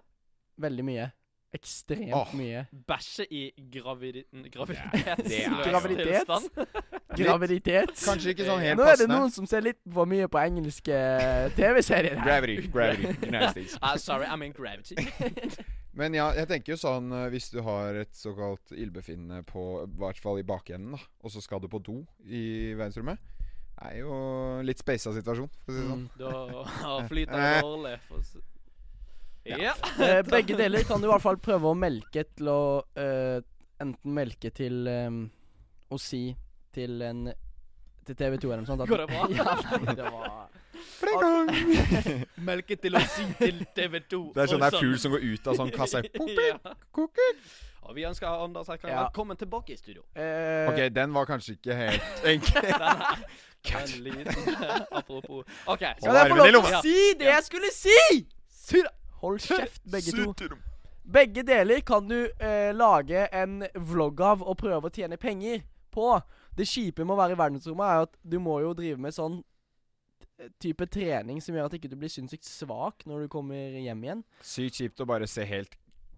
S4: Veldig mye. Ekstremt
S9: Åh.
S4: mye.
S2: Bæsje i gravidi
S9: det er jo-
S2: graviditetstilstand.
S4: Graviditet? Graviditet.
S9: Kanskje ikke sånn helt
S4: Nå er det
S9: passende.
S4: noen som ser litt for mye på engelske eh, TV-serier. her.
S9: Gravity. gravity, United States.
S2: Ah, sorry, I mean gravity.
S9: Men ja, jeg tenker jo sånn eh, hvis du har et såkalt ildbefinnende på i hvert fall i bakenden, da, og så skal du på do i verdensrommet, er jo litt speisa situasjon, for å si det
S4: Mm.
S9: sånn.
S2: Da flyter det dårlig. for å si- Eh. Ja.
S4: Eh, Begge deler kan du i hvert fall prøve å melke til å eh, Enten melke til eh, å si til en til TV 2 eller noe sånt at
S2: Går det bra?
S4: Ja, nei, det var
S2: Melke til å si til TV 2.
S9: Det er sånn det er fugl som går ut av sånn kasse.
S2: Ja. Og vi ønsker Anders Herkan
S4: Ja.
S2: velkommen tilbake i studio.
S4: eh,
S9: Ok, den var kanskje ikke helt enkel.
S2: En liten Apropos. OK.
S4: Skal jeg få lov til
S9: Armen i
S4: å
S9: lomma.
S4: si det jeg skulle si?! Hold kjeft, begge to. Begge deler kan du eh, lage en vlogg av og prøve å tjene penger på. Det kjipe med å være i verdensrommet er jo at du må jo drive med sånn t- type trening som gjør at ikke du blir sinnssykt svak når du kommer hjem igjen.
S9: Sykt kjipt å bare se helt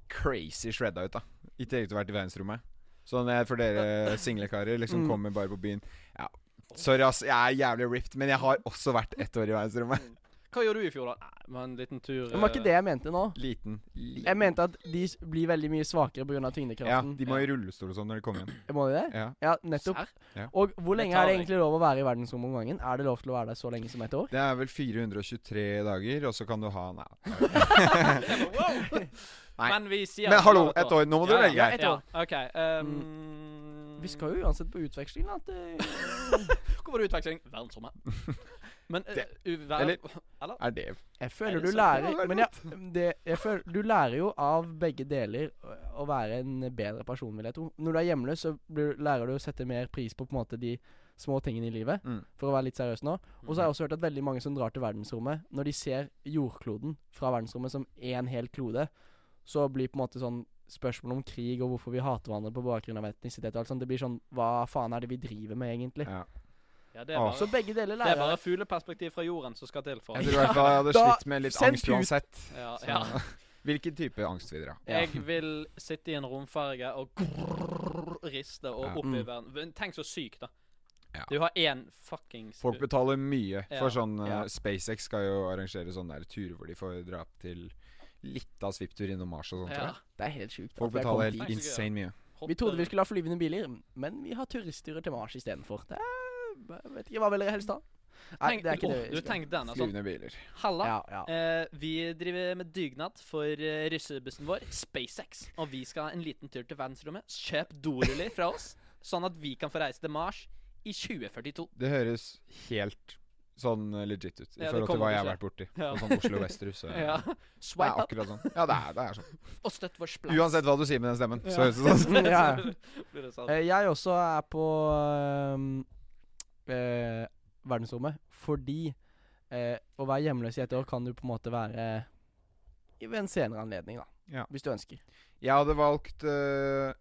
S9: crazy shredda ut, da. I tillegg til å være i verdensrommet. Sånn jeg for dere singlekarer liksom
S4: Mm.
S9: kommer bare på byen Ja, sorry ass, jeg er jævlig ripped, men jeg har også vært ett år i verdensrommet.
S2: Hva gjorde du i fjor, da? Nei, men en liten tur
S4: Det var ikke
S2: eh,
S4: det jeg mente nå.
S9: Liten. liten.
S4: Jeg mente at de s- blir veldig mye svakere pga.
S9: Ja,
S4: tyngdekraften.
S9: de må i rullestol og sånn når de kommer hjem.
S4: Må de det?
S9: Ja.
S4: Ja, nettopp.
S2: Serr?
S9: Ja.
S4: Og hvor lenge er
S2: Betaling.
S4: det egentlig lov å være i verdensrommet om gangen? Er det lov til å være der så lenge som et år?
S9: Det er vel 423 dager, og så kan du ha Nei.
S2: Wow!
S9: Nei.
S2: Men vi sier at
S9: Men
S2: vi
S9: hallo,
S2: har
S9: ett år. Nå må du
S2: Ja, ja,
S9: velge.
S2: Ja,
S9: her.
S2: ett år. OK. ehm,
S4: Vi skal jo uansett på utveksling, da. At, eh,
S2: Hvor var det utveksling? Verdensrommet. Men eh, u- ver
S9: eller-
S2: Eller
S9: Er det
S4: jeg
S2: Er
S4: føler
S2: det
S4: du
S2: så-
S9: Ja, det
S4: lærer
S9: er
S4: Men ja, mm, det, jeg føler, du lærer jo av begge deler å- å være en bedre person, vil jeg tro. Når du er hjemløs, så blir, lærer du å sette mer pris på på en måte de små tingene i livet.
S9: Mm.
S4: For å være litt seriøs nå. Og så har jeg også hørt at veldig mange som drar til verdensrommet, når de ser jordkloden fra verdensrommet som én hel klode, så blir på en måte sånn spørsmål om krig og hvorfor vi hater hverandre på bakgrunn av etnisitet og alt sånt, det blir sånn Hva faen er det vi driver med, egentlig?
S9: Ja.
S2: Ja, det er
S9: Ah.
S2: bare,
S4: Så begge deler
S2: det er
S4: lærer
S2: bare fugleperspektiv fra jorden som skal til for
S9: Jeg tror i hvert fall jeg hadde
S4: Da-
S9: slitt med litt
S4: sendt
S9: angst
S4: ut.
S9: uansett.
S2: ja,
S9: Så-
S2: ja.
S9: Hvilken type angst vil dere ha?
S4: Ja.
S2: Jeg vil sitte i en romferge og grrrr, riste og
S9: Ja.
S2: opp i
S4: Mm.
S2: verden. Men Tenk så sykt, da.
S9: Ja.
S2: Du har én fuckings
S9: Folk betaler mye for
S2: Ja.
S9: sånn eh,
S4: Ja.
S9: SpaceX skal jo arrangere sånne der turer hvor de får dra opp til litt av svipptur innom Mars og sånt.
S2: Ja.
S9: tror jeg.
S4: Det er helt sjukt.
S9: Folk
S4: at jeg kom
S9: betaler
S4: dit.
S9: helt
S2: dit.
S9: insane mye.
S2: Hoppe-
S4: Vi trodde vi skulle ha flyvende biler, men vi har turistturer til Mars istedenfor. Det er jeg Vet ikke hva vil dere helst da? Nei,
S2: Tenk-
S4: det er ikke
S2: Åh,
S4: det. vi
S2: Du
S4: skal.
S2: tenk den, altså.
S9: Flyvende biler.
S2: Halla.
S4: Ja, ja.
S2: Eh, vi driver med dugnad for eh, russebussen vår, SpaceX. Og vi skal ha en liten tur til verdensrommet. Kjøp doruller fra oss, sånn at vi kan få reise til Mars i 2042.
S9: Det høres helt sånn eh, legit ut i
S2: Ja, det
S9: forhold til
S2: kommer
S9: hva jeg
S2: til
S9: har
S2: å skje.
S9: vært borti.
S2: Ja.
S9: Og sånn Oslo Vesterhus. Så,
S2: Ja.
S9: Det er
S2: Swipe up
S9: akkurat sånn. Ja, det er, det er sånn.
S2: og støtt vår splass.
S9: Uansett hva du sier med den stemmen, så høres det sånn
S4: Mm, ja.
S2: Blir det sånn. sant?
S4: Eh, Jeg også er på ehm, eh, verdensrommet fordi eh, å være hjemløs i et år kan du på en måte være i- ved en senere anledning, da.
S9: Ja.
S4: Hvis du ønsker.
S9: Jeg hadde valgt eh,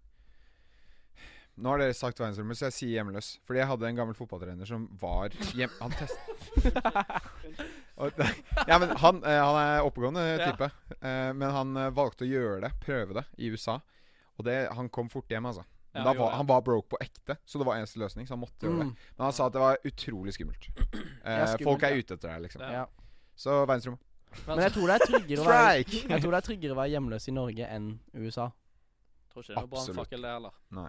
S9: Nå har dere sagt verdensrommet, så jeg sier hjemløs. Fordi jeg hadde en gammel fotballtrener som var hjem... Han test... Og- ja, men han, eh, han er oppegående
S2: Ja.
S9: type. Eh, men han eh, valgte å gjøre det, prøve det, i USA. Og det, han kom fort hjem, altså.
S2: Ja,
S9: Men da var,
S2: gjorde det.
S9: han var broke på ekte, så det var eneste løsning. Så han måtte gjøre det.
S4: Mm.
S9: Men han sa at det var utrolig skummelt. Eh,
S4: skummelt,
S9: folk er
S4: ja.
S9: ute etter deg, liksom.
S2: Ja.
S4: Ja.
S9: Så verdensrommet.
S4: Men jeg tror det er tryggere å være
S9: Strike!
S4: Jeg tror det er tryggere å være hjemløs i Norge enn USA.
S2: Tror ikke det er noe
S9: Absolutt.
S2: brannfakkel, det heller.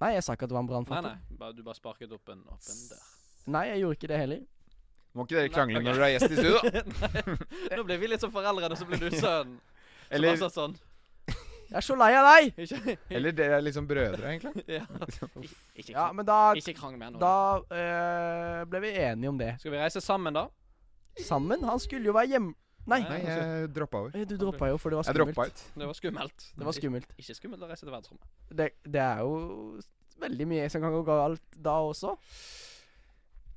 S4: Nei, jeg sa ikke at det var en
S2: Nei,
S4: brannfakkel.
S2: nei. Bare, du bare sparket opp en åpen dør.
S4: Nei, jeg gjorde ikke det heller.
S9: Må ikke dere
S2: Nei,
S9: krangle
S2: ok.
S9: når dere er gjest i studio, da.
S2: Nå ble vi litt som foreldrene, så ble du sønnen. Eller
S9: Eller,
S2: altså, sånn.
S4: Jeg er så lei av deg!
S2: Ikke,
S9: eller dere er liksom brødre, egentlig.
S2: ja. ikke,
S4: Ja,
S2: krang-
S4: men da
S2: ikke krangel mer nå.
S4: Da eh, ble vi enige om det.
S2: Skal vi reise sammen, da?
S4: Sammen? Han skulle jo være hjem... Nei.
S9: Nei, jeg droppa over.
S4: Eh, Du droppa jo, for det var
S9: Jeg droppa
S4: skummelt.
S2: Det
S9: ut.
S2: altså. var skummelt.
S4: Det var skummelt.
S2: Ik- Ikke skummelt å reise til verdensrommet.
S4: Det, det er jo veldig mye som kan gå galt da også.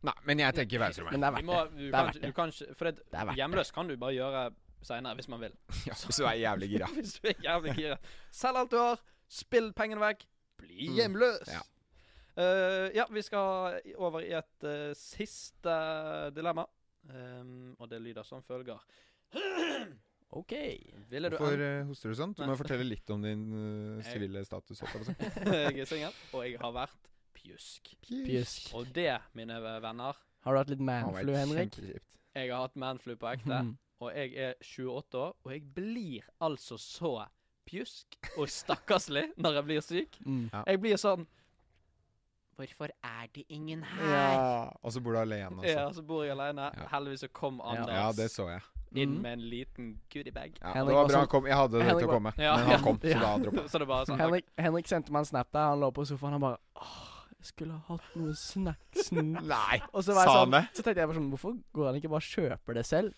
S9: Nei, men jeg tenker
S4: Men
S9: verdensrommet.
S4: det er
S2: Vi
S4: verdt
S2: må,
S4: det.
S2: du kan,
S4: er verdt
S2: ikke-
S4: det.
S2: du kan, ikke- for det,
S4: Det er verdt det.
S2: hjemløs kan du bare gjøre seinere hvis man vil.
S9: Ja, hvis du er jævlig gira.
S2: Hvis du er jævlig gira. Selg alt du har, spill pengene vekk, bli
S9: Mm.
S2: hjemløs.
S9: Ja.
S2: Eh, ja, vi skal i- over i et eh, siste dilemma, Ehm, og det lyder som følger.
S4: OK.
S2: Ville du
S9: Hvorfor
S2: en-
S9: eh, hoster du sånn? Du må fortelle litt om din eh, sivile status. holdt jeg på å si.
S2: Jeg er singel, og jeg har vært pjusk.
S4: Pjusk.
S2: Og det, mine venner
S4: Har du hatt litt
S9: Det var
S4: manflu, Henrik? Mm.
S9: kjempekjipt.
S2: Jeg har hatt manflu på ekte. Og jeg er 28 år, og jeg blir altså så pjusk og stakkarslig når jeg blir syk.
S4: Mm.
S2: Jeg blir sånn Hvorfor er det ingen her?
S9: Ja. Og så bor du alene,
S2: Ja, så
S9: altså.
S2: bor jeg alene.
S9: Ja.
S2: Heldigvis så kom Anders
S9: Ja, det så jeg.
S2: inn
S4: Mm.
S2: med en liten goodiebag.
S9: Ja,
S4: Henrik
S9: det var
S4: var
S9: bra
S4: sånn-
S9: han kom. Jeg hadde det
S4: Henrik
S9: til å
S4: var-
S9: komme,
S2: Ja.
S9: men han kom, så da droppa jeg.
S2: Så det er bare sånn
S4: Henrik, Henrik sendte meg en snap der. Han lå på sofaen. Han bare Åh, jeg skulle ha hatt noe snacks nå.
S9: Nei!
S4: Og så, var jeg
S9: Sa han
S4: sånn, så tenkte jeg bare sånn Hvorfor går han ikke bare og kjøper det selv?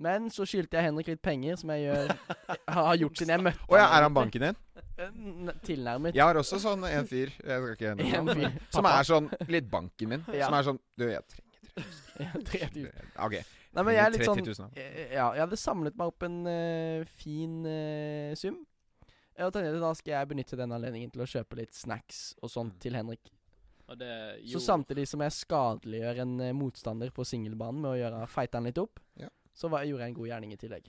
S4: Men så skyldte jeg Henrik litt penger, som jeg gjør, har gjort siden jeg møtte
S9: Å ja, er han banken din?
S4: han. Tilnærmet.
S9: Jeg har også sånn en fyr Jeg skal ikke nevne
S4: En
S9: navn.
S4: fyr.
S9: Som er sånn litt banken min.
S4: Ja.
S9: Som er sånn Du, jeg trenger
S4: Ja, 3000.
S9: OK.
S4: Nei, men jeg er litt
S9: 30
S4: sånn
S9: 000 av.
S4: Eh, Ja, jeg hadde samlet meg opp en eh, fin eh, sum. Eh, Og Tanjele, da skal jeg benytte den anledningen til å kjøpe litt snacks og
S9: Mm.
S4: sånt til Henrik.
S2: Og det,
S4: Så samtidig som jeg skadeliggjør en eh, motstander på singelbanen med å gjøre feite han litt opp,
S9: Ja.
S4: så var, gjorde jeg en god gjerning i tillegg.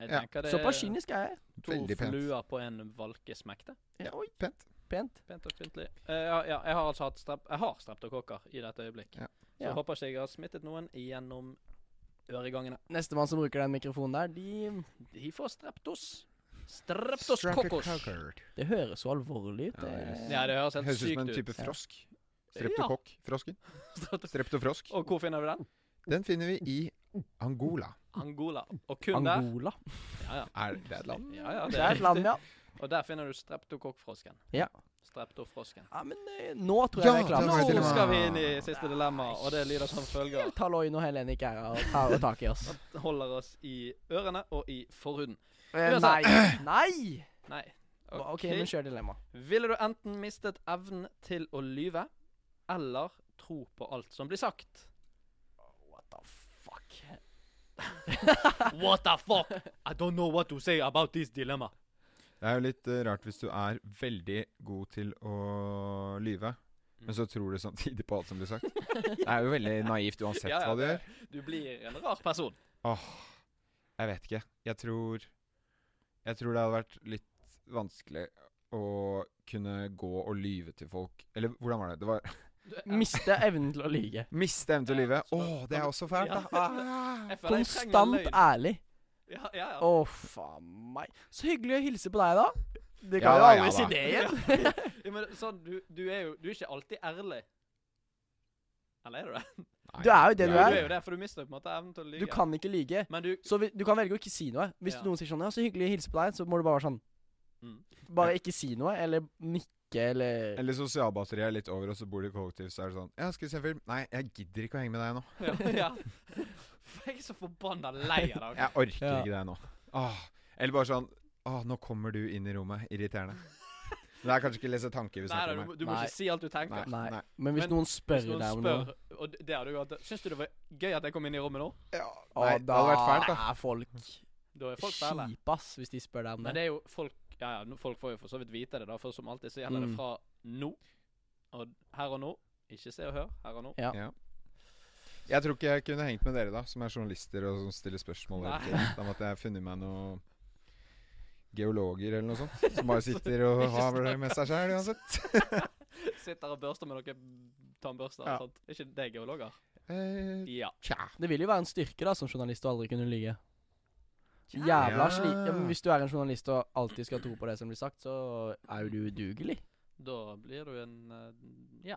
S2: jeg
S9: Ja.
S2: tenker det er
S4: Såpass kynisk er jeg.
S2: To
S9: Veldig pent.
S2: fluer på en valkesmekk, det.
S9: Ja, pent.
S4: Pent.
S2: Pent og pyntelig. Eh, ja, ja, jeg har altså hatt strep Jeg har streptokokker i dette øyeblikk.
S9: Ja.
S2: Så
S4: Ja.
S2: håper ikke jeg har smittet noen gjennom øregangene.
S4: Nestemann som bruker den mikrofonen der, de
S2: De får streptos. Streptoskokkos.
S4: Det høres så alvorlig ut.
S9: Ja, det
S4: det-
S2: Ja, det høres helt
S9: Høres ut som
S2: sykt
S9: en
S2: ut.
S9: type
S4: Ja.
S9: frosk. Streptokokk. Frosken. Streptofrosk.
S2: Og hvor finner du den?
S9: Den finner vi i Angola.
S2: Angola. Og kun der.
S4: Angola.
S2: Ja, ja.
S9: Er det et land?
S2: ja, ja
S4: Det er et land, ja.
S2: Og der finner du streptokokkfrosken.
S4: Ja.
S2: Streptofrosken.
S4: ja men eh, nå tror jeg
S9: Ja,
S4: det er klart.
S9: det
S2: Nå
S9: var et
S4: Nå
S9: dilemma.
S2: skal vi inn i siste dilemma, og det lyder som følger.
S4: skal Talloy når Helen ikke er her og tar tak i oss.
S2: Holder oss i ørene og i forhuden.
S4: Eh,
S2: USA.
S4: Nei. Nei!
S2: Nei.
S4: OK, men kjør dilemma.
S2: Ville du enten mistet evnen til å lyve eller tro på alt som blir sagt?
S4: What the fuck?
S2: What the fuck? I don't know what to say about this dilemma.
S9: Det er jo litt eh, rart hvis du er veldig god til å lyve, men så tror du samtidig på alt som blir sagt. Det er jo veldig naivt uansett
S2: Ja, ja,
S9: hva du
S2: det-
S9: gjør.
S2: Du blir en rar person.
S9: Åh, jeg vet ikke. Jeg tror Jeg tror det hadde vært litt vanskelig å kunne gå og lyve til folk. Eller hvordan var det? Det var
S2: Du, jeg-
S4: Miste evnen til å lyge.
S9: miste evnen til å lyve.
S2: Ja,
S9: Åh, det er også fælt, da. Ah.
S2: jeg føler jeg trenger
S4: Konstant
S2: løgn.
S4: ærlig.
S2: Ja, ja, ja.
S4: Å, faen meg. Så hyggelig å hilse på deg, da. Det
S9: Ja
S4: kan jo
S9: da, ja
S4: aldri si
S9: da.
S4: det igjen.
S2: ja men sånn, du, du er jo Du er ikke alltid ærlig. Eller er du det?
S4: Du er jo det du
S2: Du er
S4: er.
S2: jo det, for du mister på en måte evnen til å lyve.
S4: Du kan ikke lyge.
S2: Men du
S4: Så vi, du kan velge å ikke si noe. Hvis
S2: Ja.
S4: noen sier sånn 'Ja, så hyggelig å hilse på deg', så må du bare være sånn
S2: Mm.
S4: Bare ikke si noe, eller nikke, eller
S9: Eller sosialbatteriet er litt over, og så bor du i kollektiv, så er det sånn Ja, skal vi se en film? Nei, jeg gidder ikke å henge med deg nå.
S2: Ja. ja. For jeg er så forbanna lei av deg.
S9: Jeg orker
S4: Ja.
S9: ikke deg nå. Åh. Eller bare sånn Åh, nå kommer du inn i rommet. Irriterende. Men det er kanskje ikke lese tanker vi
S2: Nei, da, du,
S9: snakker
S2: må-
S9: om her.
S2: du må
S4: Nei.
S2: ikke si alt du tenker.
S9: Nei.
S4: Nei. Men hvis
S2: Men
S4: noen spør
S2: Hvis
S4: deg
S2: noen
S4: om
S2: spør,
S4: noe
S2: og det- det hadde du hatt Syns du det var gøy at jeg kom inn i rommet nå?
S9: Ja,
S4: å,
S9: nei, det hadde vært fælt, da.
S4: er folk
S2: Da er folk fæle.
S4: kjipe, ass, hvis de spør deg om
S2: Men
S4: det.
S2: det er jo folk Ja, ja, nå- folk får jo for så vidt vite det, da, for som alltid så gjelder det
S4: Mm.
S2: fra nå. Og her og nå. Ikke se og hør. Her og nå.
S4: Ja.
S9: Ja. Jeg tror ikke jeg kunne hengt med dere, da, som er journalister og som stiller spørsmål. hele
S2: Nei.
S9: tiden. Da måtte jeg funnet meg noen geologer eller noe sånt, som bare sitter og har det med seg sjæl uansett.
S2: Sitter og børster med noen tannbørster.
S9: Ja.
S2: Sant? Er ikke det geologer?
S9: Eh,
S2: Ja.
S9: tja.
S4: Det vil jo være en styrke da, som journalist å aldri kunne lyge. Jævla
S9: Ja.
S4: slik ja, men Hvis du er en journalist og alltid skal tro på det som blir sagt, så er jo du udugelig.
S2: Da blir du en eh, Ja.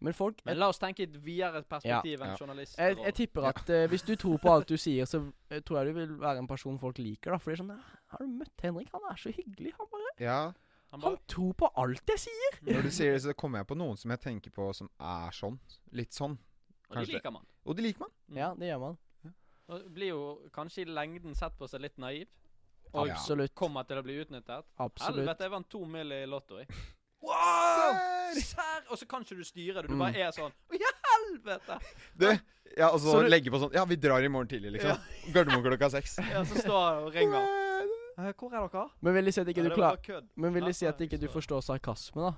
S4: Men folk
S2: Men la oss tenke i et videre perspektiv enn
S9: Ja.
S2: journalist.
S4: Jeg, jeg tipper at eh, hvis du tror på alt du sier, så eh, tror jeg du vil være en person folk liker. da For det er sånn "Ah, 'Har du møtt Henrik? Han er så hyggelig. Han, bare,
S9: ja.
S2: Han
S4: han
S2: bare
S4: tror på alt jeg sier.'
S9: Når du sier det, så kommer jeg på noen som jeg tenker på som er sånn. Litt sånn.
S2: Og det
S9: Kanskje.
S2: liker man.
S9: Og de liker man.
S2: Mm.
S4: Ja, det gjør man.
S2: Og blir jo kanskje i lengden sett på seg litt naiv.
S9: Ja.
S4: Absolutt.
S2: Kommer til å bli utnyttet.
S4: Absolutt.
S2: Helvete, jeg vant to mill. i lotto, jeg.
S9: Wow!
S2: Serr! Og så kan ikke du styre det. Du
S4: Mm.
S2: bare er sånn Å, ja, helvete!
S9: Du, ja, og så
S2: Så du-
S9: legge på sånn Ja, vi drar i morgen tidlig, liksom. Gardermoen klokka seks.
S2: Ja, så står jeg og ringer. Eh, Hvor er dere?
S4: Men vil de si at ikke
S2: Ja,
S4: du
S2: det var
S4: klar
S2: bare kødd.
S4: Men vil
S2: Ja,
S4: de si at
S2: nei,
S4: ikke du
S2: så-
S4: forstår sarkasme, da?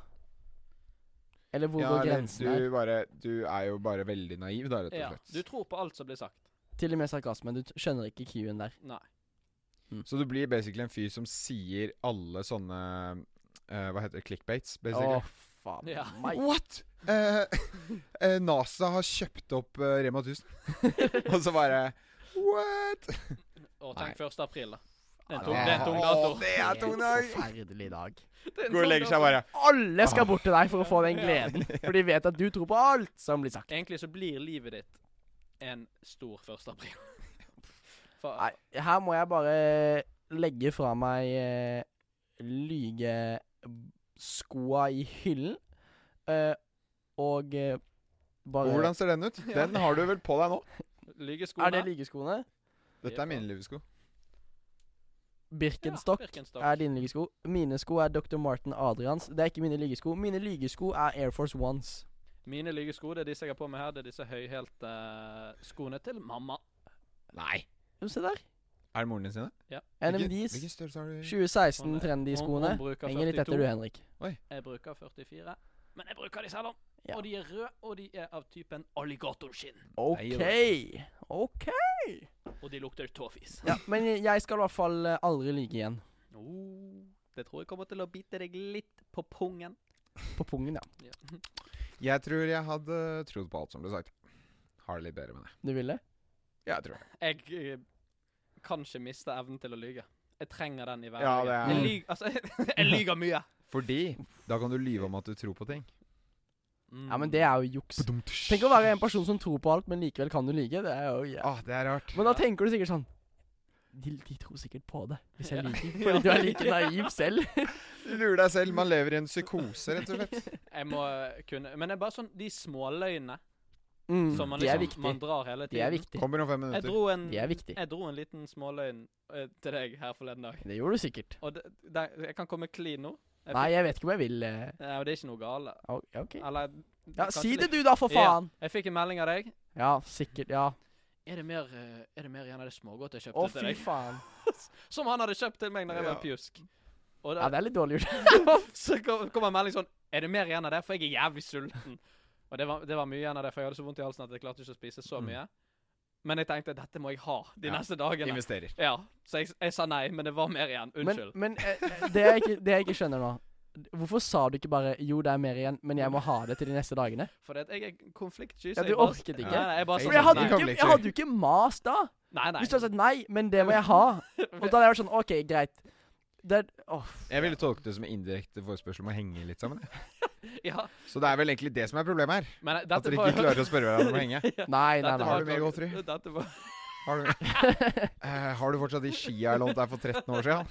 S4: Eller hvor
S9: Ja,
S4: går
S9: eller
S4: grensen her?
S9: du bare Du er jo bare veldig naiv, da, rett
S2: Ja,
S9: og
S2: du
S9: slett.
S2: tror på alt som blir sagt.
S4: Til og med sarkasme. Du t- skjønner ikke Q-en der.
S2: Nei.
S9: Så du blir basically en fyr som sier alle sånne eh, Hva heter det? Clickbaits,
S4: Å,
S9: basically.
S4: faen
S2: Ja.
S4: meg.
S9: What?! Eh, eh, NASA har kjøpt opp eh, Rema 1000. og så bare What?!
S2: Og tenk 1. april, da. Det er en
S4: Ja,
S2: tung,
S4: det
S2: det er en tung
S9: Åh,
S2: dato.
S9: det er tung dag!
S4: Forferdelig dag.
S2: Det er en
S9: Går og
S2: tung
S9: legger
S2: dato.
S9: seg bare.
S4: Alle skal bort til deg for å få den gleden. For de vet at du tror på alt som blir sagt.
S2: Egentlig så blir livet ditt en stor 1. april. For,
S4: Nei, her må jeg bare legge fra meg eh, lygeskoa i hyllen. Eh, og eh, bare
S9: Hvordan ser den ut? Den har du vel på deg nå?
S2: Lygeskoene
S4: Er det lygeskoene?
S9: Dette er mine livesko.
S4: Birkenstock.
S2: Ja, Birkenstock.
S4: er dine lygesko. Mine sko er Dr. Martin Adrians. Det er ikke mine lygesko. Mine lygesko er Air Force Ones.
S2: Mine lygesko, det er disse eh, jeg har på meg her, det er disse høyhælte skoene til mamma.
S9: Nei.
S4: Jo, se der.
S9: Er det moren din sine?
S4: NMDs.
S9: Hvilken størrelse har du?
S4: 2016
S2: Om-
S4: trendy-skoene.
S2: om bruker
S4: Henger litt
S2: 42.
S4: etter du, Henrik.
S2: Jeg bruker 44, men jeg bruker de selv om.
S4: Ja.
S2: Og de er røde, og de er av typen alligatorskinn.
S4: OK. OK.
S2: Og de lukter tåfis.
S4: Ja, men jeg skal i hvert fall eh, aldri lyge igjen.
S2: Oh, det tror jeg kommer til å bite deg litt på pungen.
S4: På pungen, ja.
S2: Ja.
S9: Jeg tror jeg hadde trodd på alt som ble sagt. Har det litt bedre med det.
S4: Du ville?
S9: Ja, jeg tror det.
S2: Jeg eh, kan ikke miste evnen til å lyge. Jeg trenger den i hverdagen.
S9: Ja, det er-
S2: Jeg lyger, altså, jeg lyger mye.
S9: Fordi da kan du lyve om at du tror på ting.
S4: Ja, men det er jo juks. Tenk å være en person som tror på alt, men likevel kan du lyge. Det er jo jævlig.
S9: Ah, det er rart.
S4: Men da tenker du sikkert sånn de, de tror sikkert på det, hvis jeg lyver. Fordi du er like naiv selv.
S9: Du lurer deg selv. Man lever i en psykose, rett og slett.
S2: Jeg må kunne Men det er bare sånn de småløgnene
S4: Mm,
S2: som man,
S4: de er
S2: liksom,
S4: viktig.
S2: man drar hele
S4: De
S2: tiden.
S4: er viktig.
S9: Kommer om fem
S2: Jeg
S9: minutter.
S2: dro en,
S4: De er viktig.
S2: jeg dro en liten småløgn eh, til deg her forleden dag.
S4: Det gjorde du sikkert.
S2: Og det, det, jeg kan komme clean nå. Mm. Jeg
S4: Nei, jeg vet ikke om jeg vil eh,
S2: fikk- Nei, men det er ikke noe gale.
S4: au- ja, OK.
S2: Eller
S4: Ja,
S2: kanskje
S4: si det
S2: litt.
S4: du, da, for faen.
S2: Jeg fikk en melding av deg.
S4: Ja, sikkert. Ja.
S2: Er det mer, eh, er det mer igjen av det smågodt jeg kjøpte
S4: Å,
S2: til
S4: fy
S2: deg?
S4: faen.
S2: Som han hadde kjøpt til meg da jeg var
S9: Ja.
S2: pjusk. Og da,
S4: Ja, det er litt dårlig gjort.
S2: så kom- kom en melding sånn Er det mer igjen av det? For jeg er jævlig sulten. Og det var, det var mye igjen av det, for jeg hadde så vondt i halsen at jeg klarte ikke å spise så
S9: Mm.
S2: mye. Men jeg tenkte dette må jeg ha de
S9: Ja.
S2: neste dagene.
S9: Investerer.
S2: Ja, Så jeg, jeg sa nei, men det var mer igjen.
S4: Men,
S2: Unnskyld.
S4: men eh, eh, det, jeg ikke, det jeg ikke skjønner nå Hvorfor sa du ikke bare 'jo, det er mer igjen, men jeg må ha det til de neste dagene'?
S2: for at jeg er konfliktsky.
S4: Ja,
S2: så jeg
S4: du
S2: bare-
S4: orket ikke.
S2: Nei, nei, jeg bare
S9: For
S2: sa
S4: For jeg hadde
S2: nei.
S4: jo ikke, jeg hadde jo ikke mast da.
S2: Nei, nei.
S4: Hvis du hadde sagt 'nei, men det må jeg ha', og da hadde jeg vært sånn 'OK, greit'. Det er, åh,
S9: Jeg ville tolke det som en indirekte forespørsel om å henge litt sammen. jeg.
S2: Ja,
S9: Så det er vel egentlig det som er problemet her.
S2: men dette
S9: At dere
S2: var-
S9: ikke klarer å spørre hverandre om å henge.
S4: Nei, nei,
S2: Dette var
S4: nei.
S9: Har du mer
S2: kong-
S9: godteri?
S2: Dette var
S9: Har du, Eh, har du fortsatt de skia jeg lånte deg for 13 år siden?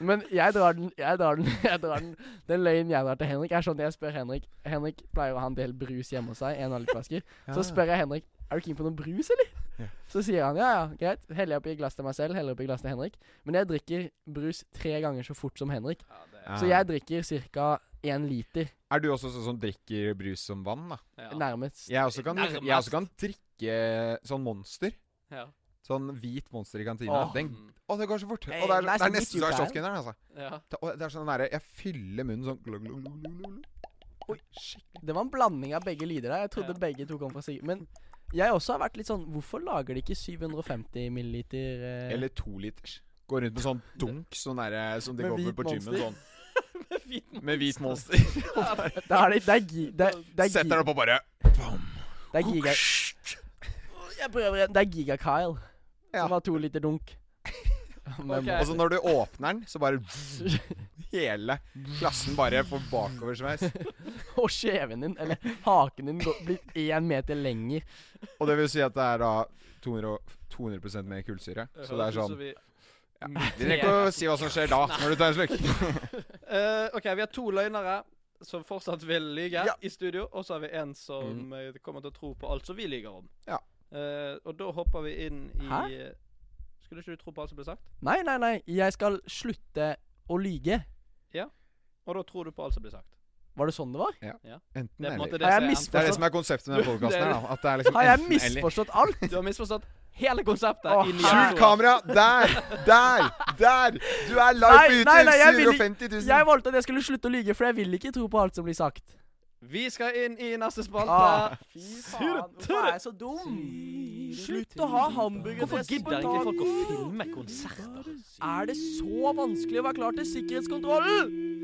S4: Men jeg drar den, jeg drar den, jeg drar den. Den løgnen jeg drar til Henrik, er sånn at jeg spør Henrik Henrik pleier å ha en del brus hjemme hos seg, en og en halv flasker. Så spør jeg Henrik er du keen på noe brus, eller?
S9: Ja.
S4: Så sier han ja, ja, greit. Heller jeg oppi et glass til meg selv, heller oppi et glass til Henrik. Men jeg drikker brus tre ganger så fort som Henrik.
S2: ja, det,
S9: Ja.
S4: Så jeg drikker ca. én liter,
S9: Er du også sånn som drikker brus som vann, da?
S2: ja.
S4: nærmest.
S9: Jeg også kan, liksom,
S2: Nærmest.
S9: jeg også kan drikke sånn monster.
S2: Ja.
S9: Sånn hvit monster i kantina.
S4: Åh.
S9: Den,
S2: Mm,
S9: å, det går så fort!
S4: Nei,
S9: Og det er,
S4: nei, sånn
S9: det
S4: så
S9: er nesten
S4: midt
S9: så
S4: i
S9: er
S4: uka her.
S9: shotgunneren, altså.
S2: ja.
S9: Det, og det er sånn nære Jeg fyller munnen sånn glug, glug, glug, glug, glug.
S4: Det var en blanding av begge lyder der. Jeg trodde
S2: Ja.
S4: begge to kom fra Sigurd. Men jeg også har vært litt sånn Hvorfor lager de ikke 750 milliliter eh,
S9: Eller toliters. Går rundt med sånn dunk sånn nære som de
S4: Med
S9: går
S4: hvit
S9: med på gymmen.
S4: monster.
S9: Sånn. Med hvit monster.
S4: Det er, det, det er, gi- det er, det er,
S9: Setter
S4: gi-
S9: den opp og bare
S4: det er giga... Jeg prøver igjen. Det er Giga-Kyle.
S9: Ja.
S4: Som har to liter dunk. Men,
S2: Ok.
S9: Og så når du åpner den, så bare Hele klassen bare får bakoversveis.
S4: Og kjeven din, eller haken din, går- blir én meter lenger.
S9: Og det vil si at det er da 200, og- 200 mer kullsyre. Så det er sånn
S2: vi,
S9: ja. Vi rekker å si hva som skjer da, når du tar en slurk.
S2: Eh, OK, vi har to løgnere som fortsatt vil lyge
S9: Ja.
S2: i studio. Og så har vi en som eh, kommer til å tro på alt som vi lyver om.
S9: Ja.
S2: Eh, og da hopper vi inn i
S4: Hæ?
S2: Skulle ikke du tro på alt som ble sagt?
S4: Nei, nei, nei. Jeg skal slutte å lyge.
S2: Og da tror du på alt som ble sagt.
S4: Var det sånn det var?
S9: Enten
S2: Det er på en måte
S9: eller.
S2: det
S4: Har jeg
S2: som er
S9: Det
S4: misforstått?
S9: er det
S2: enten-
S9: som er konseptet med denne podkasten. her, da, At det er liksom
S4: Har jeg
S9: enten eller.
S4: misforstått alt?
S2: Du har misforstått hele konseptet.
S4: Åh,
S2: i nye
S4: skjul
S9: Skjul
S2: episoder.
S9: kamera! Der! Der! Der! Du er live
S4: Nei,
S9: på
S4: nei, nei, jeg vil
S9: YouTube!
S4: ikke-
S9: 750 000.
S4: Jeg valgte at jeg skulle slutte å lyge, for jeg vil ikke tro på alt som blir sagt.
S2: Vi skal inn i neste spalte.
S4: Ah, fy faen, hvorfor er jeg så dum? Slutt å ha
S2: Hvorfor
S4: hamburgerfest på
S2: gidder ikke folk å
S4: dagen.
S2: filme konserter?
S4: Er det så vanskelig å være klar til sikkerhetskontrollen?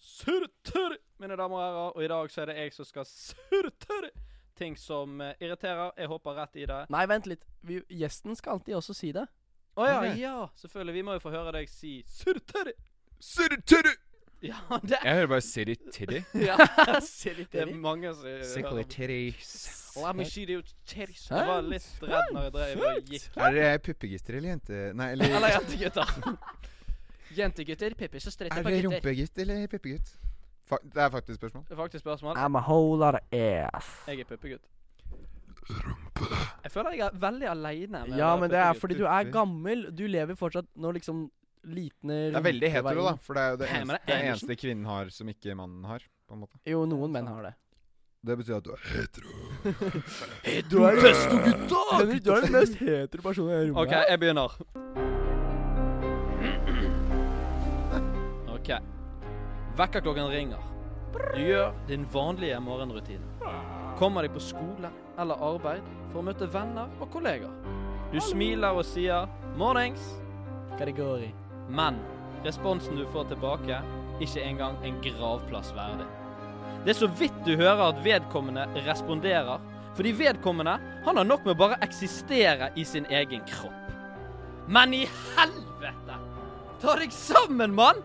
S2: Surtur, mine damer og herrer. Og i dag så er det jeg som skal surtur ting som eh, irriterer. Jeg hopper rett i det.
S4: Nei, vent litt. Vi, gjesten skal alltid også si det.
S2: Å ja,
S9: Ok.
S2: ja, selvfølgelig. Vi må jo få høre deg si surtur.
S9: Surre, turre.
S2: Ja, det
S9: Jeg hører bare Siri Tiddy.
S2: ja. Det er
S4: Terry.
S2: mange som hører om. La meg skyte ut cherries.
S4: Hæ?
S2: Jeg var litt redd når jeg drev og gikk.
S9: Er det puppegutter eller jente...? Nei, eller
S2: Eller jentegutter. Jentegutter, pippi så stretter
S9: Er
S2: på
S9: det
S2: gutter.
S9: rumpegutt eller puppegutt? Fa det er faktisk spørsmål.
S2: Det er Faktisk spørsmål.
S4: I'm a whole lot of ass.
S2: Jeg er puppegutt. Jeg føler jeg er veldig aleine.
S4: Ja, men det er fordi du er gammel. Du lever fortsatt når liksom litne
S9: Det er veldig hetero, da. For det er jo det
S2: Nei, men det er
S9: eneste, det
S2: Andersen.
S9: eneste kvinnen har som ikke mannen har. På en måte
S4: Jo, noen menn har det.
S9: Det betyr at du er hetero.
S4: Du er beste gutta! Henrik, du er den mest hetero personen i rommet.
S2: OK, jeg begynner. OK. Vekkerklokken ringer. Du gjør din vanlige morgenrutine. Kommer deg på skole eller arbeid for å møte venner og kollegaer. Du smiler og sier 'mornings',
S4: Kategori.
S2: men responsen du får tilbake, ikke engang en gravplass verdig. Det er så vidt du hører at vedkommende responderer, fordi vedkommende han har nok med å bare eksistere i sin egen kropp. Men i helvete! Ta deg sammen, mann!